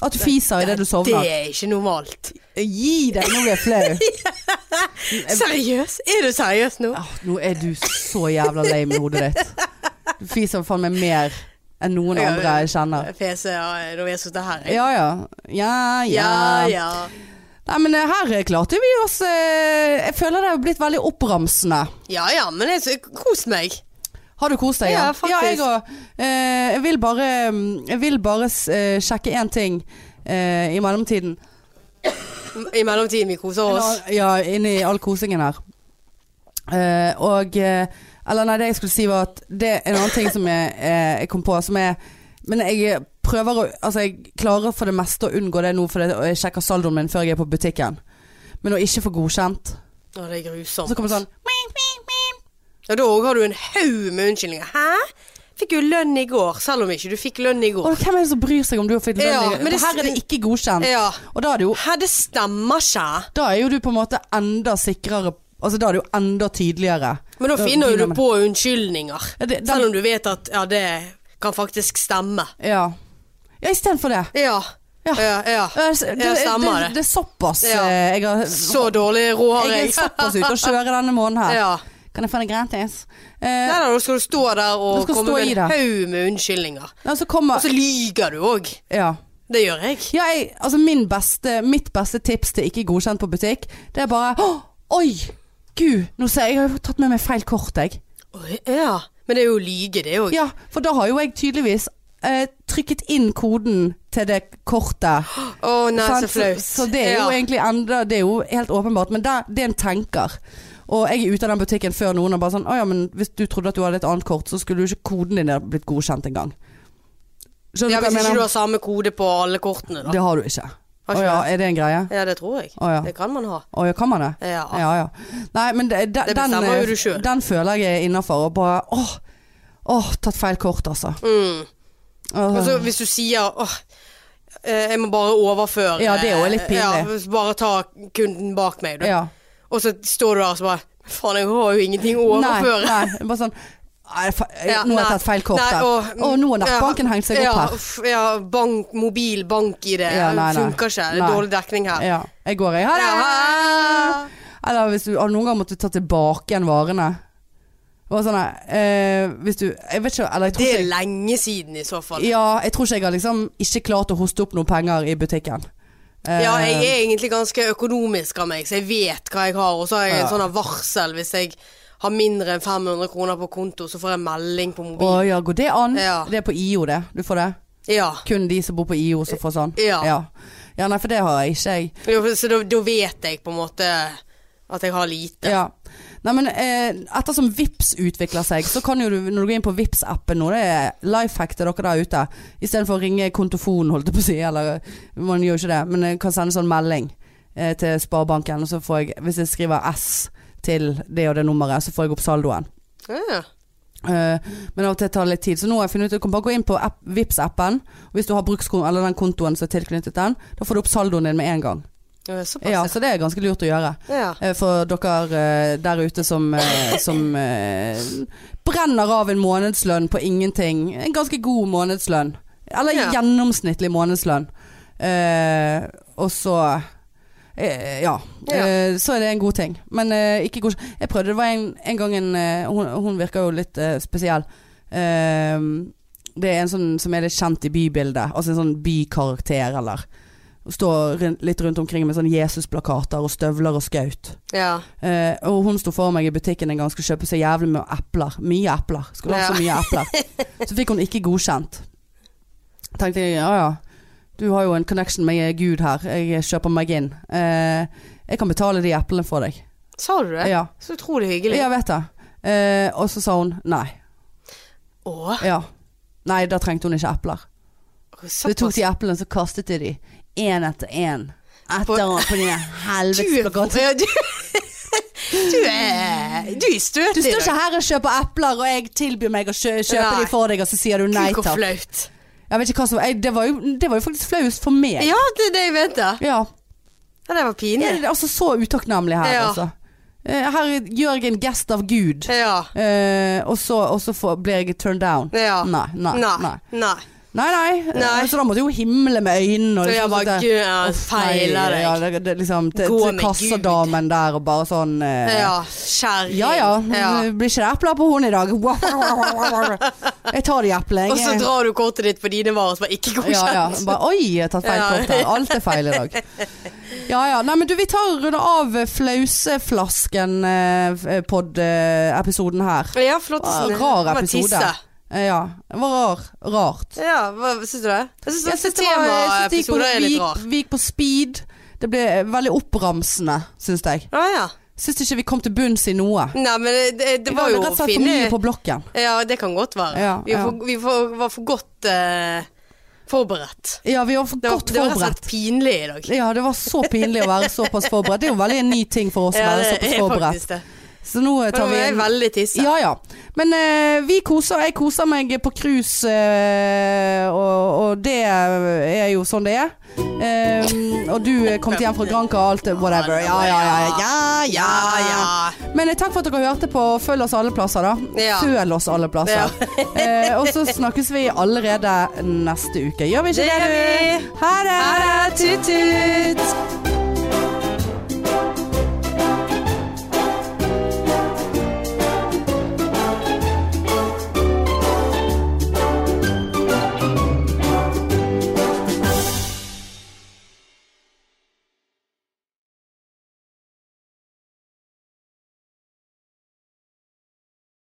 B: At du fiser idet du
A: Det
B: sovner.
A: er ikke normalt.
B: Gi deg, nå blir jeg flau.
A: Seriøs? Er du seriøs nå?
B: Ah, nå er du så jævla lame i hodet ditt. Du fiser faen meg mer enn noen
A: Ja,
B: andre jeg kjenner.
A: PC, ja, når jeg sitter her. jeg.
B: Ja ja. Ja ja.
A: Ja, ja.
B: Nei, men eh, her eh, klarte vi oss eh, Jeg føler det har blitt veldig oppramsende.
A: Ja ja, men jeg så- kos meg.
B: Har du kost deg?
A: Ja,
B: Jan?
A: faktisk.
B: Ja, jeg òg. Eh, jeg vil bare, mm, jeg vil bare eh, sjekke én ting eh, i mellomtiden.
A: I mellomtiden vi koser oss.
B: Ja, inni all kosingen her. Eh, og eh, Eller nei, det jeg skulle si var at det er en annen ting som jeg, eh, jeg kom på, som er Men jeg prøver å Altså, jeg klarer for det meste å unngå det nå, for det, og jeg sjekker saldoen min før jeg er på butikken. Men å ikke få godkjent.
A: Å, det er grusomt.
B: Så kommer det sånn
A: Ja, da òg har du en haug med unnskyldninger. Hæ? Fikk jo lønn i går, selv om ikke du fikk lønn i
B: Å,
A: går.
B: hvem er det som bryr seg om du har fått lønn?
A: Ja,
B: i-
A: men det- Eh.
B: her er det ikke godkjent.
A: Ja.
B: Og da er det jo
A: Hæ, det stemmer ikke.
B: Da er jo du på en måte enda sikrere Altså da er det jo enda tydeligere.
A: Men da
B: Da
A: finner jo
B: begynner
A: du
B: man-
A: på unnskyldninger.
B: Ja, det- da-
A: Selv om du vet at ja, det kan faktisk stemme.
B: Ja, ja istedenfor det.
A: Ja.
B: Ja.
A: Ja, ja.
B: Ja, s- Det,
A: Ja, stemmer
B: det,
A: det.
B: det er såpass
A: Ja.
B: eh, jeg, har,
A: Så dårlig råd har
B: jeg er
A: jeg.
B: såpass ute å kjøre denne måneden her.
A: Ja.
B: Kan jeg få det gratis?
A: Nei
B: Eh,
A: da, da skal du stå der
B: Du
A: og
B: skal
A: komme
B: stå
A: med
B: i
A: en
B: det.
A: haug med unnskyldninger.
B: ja, så
A: Og
B: kommer
A: så lyger du òg.
B: Ja.
A: Det gjør jeg.
B: ja jeg, altså min beste, mitt beste tips til ikke godkjent på butikk, det er bare «Åh, Oi! Gud, nå ser jeg, jeg har jo tatt med meg feil kort, jeg.
A: Oi, Ja. Men det er jo å lyge, det òg.
B: Ja, for da har jo jeg tydeligvis eh, trykket inn koden til det kortet.
A: Å nei, så
B: Sant?
A: flaut.
B: Så, så det er jo
A: ja.
B: egentlig enda Det er jo helt åpenbart, men det, det er en tenker. Og jeg er ute av den butikken før noen har bare sånn Å ja, men hvis du trodde at du hadde et annet kort, så skulle jo ikke koden din ha blitt godkjent engang. Skjønner
A: ja,
B: du hva
A: Hvis
B: jeg
A: ikke du
B: mener?
A: har samme kode på alle kortene, da.
B: Det har du ikke.
A: Har
B: Å
A: ikke
B: ja, er det en greie?
A: Ja, det tror jeg.
B: Å ja.
A: Det kan man ha.
B: Å ja, kan man det?
A: Ja.
B: Ja ja. Nei, men de, de,
A: Det
B: den,
A: bestemmer jo du
B: eh,
A: selv.
B: den føler jeg er innafor. Og bare åh, åh, tatt feil kort, altså.
A: Mm.
B: Åh.
A: Og så Altså, hvis du sier åh, eh, jeg må bare overføre eh,
B: Ja, det er jo litt pinlig.
A: Ja, bare ta kunden bak meg, du.
B: ja.
A: Og så står du der og så bare Faen, jeg har jo ingenting å overføre.
B: Nei, nei, bare sånn Nei, fa
A: Ja,
B: nå har jeg
A: nei.
B: tatt feil kort
A: Nei,
B: der.
A: og-
B: Å, nå har nettbanken hengt seg
A: ja,
B: opp her.
A: uff, Ja, bank, mobil bank i det
B: Ja, nei, nei.
A: funker ikke. Det
B: Nei.
A: er dårlig dekning her.
B: Ja, jeg går, jeg. Ha det!
A: Ja,
B: Eller hvis du har du noen gang måttet ta tilbake igjen varene. Bare sånn nei, eh, Hvis du Jeg vet ikke, eller jeg
A: Det
B: tror
A: er
B: ikke
A: lenge siden i så fall.
B: jeg Ja, jeg tror ikke jeg har liksom ikke klart å hoste opp noen penger i butikken. Eh,
A: Ja, jeg er egentlig ganske økonomisk av meg, så jeg vet hva jeg har. Og så har jeg en
B: Ja.
A: sånn varsel hvis jeg har mindre enn 500 kroner på konto, så får jeg melding på
B: Å
A: mobilen.
B: ja, går det an?
A: Ja.
B: Det er på IO, det. Du får det?
A: Ja.
B: Kun de som bor på IO som får sånn?
A: Ja.
B: ja. Ja, nei, for det har jeg ikke, jeg.
A: Jo, for- Så da, da vet jeg på en måte at jeg har lite.
B: Ja. Nei, men eh, ettersom Vips utvikler seg, så kan jo du, når du går inn på vips appen nå, det er life hack til dere der ute. Istedenfor å ringe kontofonen, holdt jeg på å si, eller man gjør jo ikke det, men jeg kan sende sånn melding eh, til Sparebanken, og så får jeg, hvis jeg skriver S til det og det nummeret, så får jeg opp saldoen.
A: Ja.
B: Eh, men av og til tar det litt tid. Så nå har jeg funnet ut Du kan bare gå inn på app, vips appen Hvis du har brukskon, eller den kontoen som er tilknyttet den, da får du opp saldoen din med en gang.
A: Ja, Såpass.
B: Ja,
A: Ja.
B: så det er ganske lurt å gjøre.
A: Ja.
B: Eh, For dere eh, der ute som, eh, som eh, brenner av en månedslønn på ingenting. En ganske god månedslønn. Eller
A: Ja.
B: gjennomsnittlig månedslønn. Eh, og så eh, ja.
A: Ja.
B: Eh, så er det en god ting. Men eh, ikke god Jeg prøvde, det var en, en gang en eh, hun, hun virker jo litt eh, spesiell. Eh, det er en sånn som er litt kjent i bybildet. Altså en sånn bykarakter, eller. Står rundt- litt rundt omkring med sånn Jesus-plakater og støvler og skaut.
A: Ja.
B: Eh, og hun sto for meg i butikken en gang skulle kjøpe seg jævlig med epler. Mye epler. Skulle ha så mye epler. Så fikk hun ikke godkjent. Tenkte jeg ja ja, du har jo en connection med Gud her. Jeg kjøper meg inn. Eh, jeg kan betale de eplene for deg.
A: Sa du det?
B: Ja,
A: Så utrolig hyggelig.
B: jeg vet det. Eh, og så sa hun nei.
A: Å,
B: Ja. Nei, da trengte hun ikke epler. Så jeg tok
A: såpass.
B: de eplene, så kastet jeg de. Én etter én.
A: På-
B: Etter hverandre på den
A: Du er
B: helvetes plakaten.
A: ja, du, du er Du er
B: Du
A: støtig.
B: står ikke her og kjøper epler, og jeg tilbyr meg å kjø kjøpe
A: Nei.
B: de for deg, og så sier du nei
A: Kuk og
B: takk.
A: flaut.
B: Jeg vet ikke hva som jeg, det, var jo, det var jo faktisk flaut for meg.
A: Ja, det er det jeg mente.
B: Ja.
A: Ja, det var
B: Jeg
A: pinlig.
B: er altså så utakknemlig her,
A: Ja.
B: altså. Eh, Her gjør jeg en gest av Gud,
A: Ja.
B: eh, og så, og så får, blir jeg turned down.
A: ja.
B: Nei, nei,
A: Nei.
B: nei.
A: Nei.
B: Nei, nei.
A: Nei.
B: Eh, Så da måtte jeg jo himle med øynene. Og
A: Så jeg
B: liksom
A: bare
B: sånn der,
A: Gud, jeg
B: «Uff, nei,
A: feiler
B: Ja,
A: deg.
B: det, det, liksom, til,
A: Gå
B: til
A: med liksom.
B: kassadamen der og bare sånn eh,
A: Ja, kjerring.
B: Ja ja, Mm,
A: Ja.
B: blir ikke det epler på henne i dag? Jeg tar de eplene.
A: Og så
B: jeg.
A: drar du kortet ditt på dine varer som var ikke godkjent.
B: mm. Ja, ja. Bare, Oi, jeg har tatt feil
A: Ja.
B: kort her. Alt er feil i dag. Ja ja. Nei, men du, vi tar og runder av eh, Flauseflasken-pod-episoden her.
A: Ja, flott.
B: Ah,
A: Sune.
B: rar
A: Det var
B: episode.
A: tisse.
B: Eh, Ja. Det var rar, rart.
A: Ja, hva syns du det? Jeg
B: Jeg
A: syns
B: syns det var- jeg synes det gikk på-
A: temaepisoder er litt
B: vi
A: rar.
B: gikk- Vi gikk på speed. Det ble eh, veldig oppramsende, syns jeg.
A: Å Ah, ja.
B: Syns ikke vi kom til bunns i noe.
A: Nei, men det, det, det var jo
B: rett
A: å
B: og slett for mye
A: finne
B: på blokken.
A: Ja, det kan godt være.
B: Ja,
A: vi, var
B: ja.
A: for, vi for, var for godt eh, forberedt.
B: Ja, vi var for
A: Det var,
B: godt
A: det var rett og
B: forberedt.
A: slett pinlig i dag.
B: Ja, det var så pinlig å være såpass forberedt. Det er jo veldig en ny ting for oss å være såpass forberedt.
A: faktisk det.
B: Så nå eh,
A: Men nå
B: tar vi
A: er jeg
B: en
A: veldig tisse.
B: ja, ja. Men eh, vi koser, jeg koser meg på cruise, eh, og, og det er jo sånn det er. Eh, og du eh, kom til hjem fra Granca og alt, eh, whatever. Ja, ja, ja. ja, ja, ja. Men eh, takk for at dere hørte på. Følg oss alle plasser, da.
A: Ja.
B: Følg oss alle plasser. eh, og så snakkes vi allerede neste uke. Gjør vi ikke
A: Det
B: det,
A: gjør
B: du? Ha det!
A: Ha det! Tut-tut!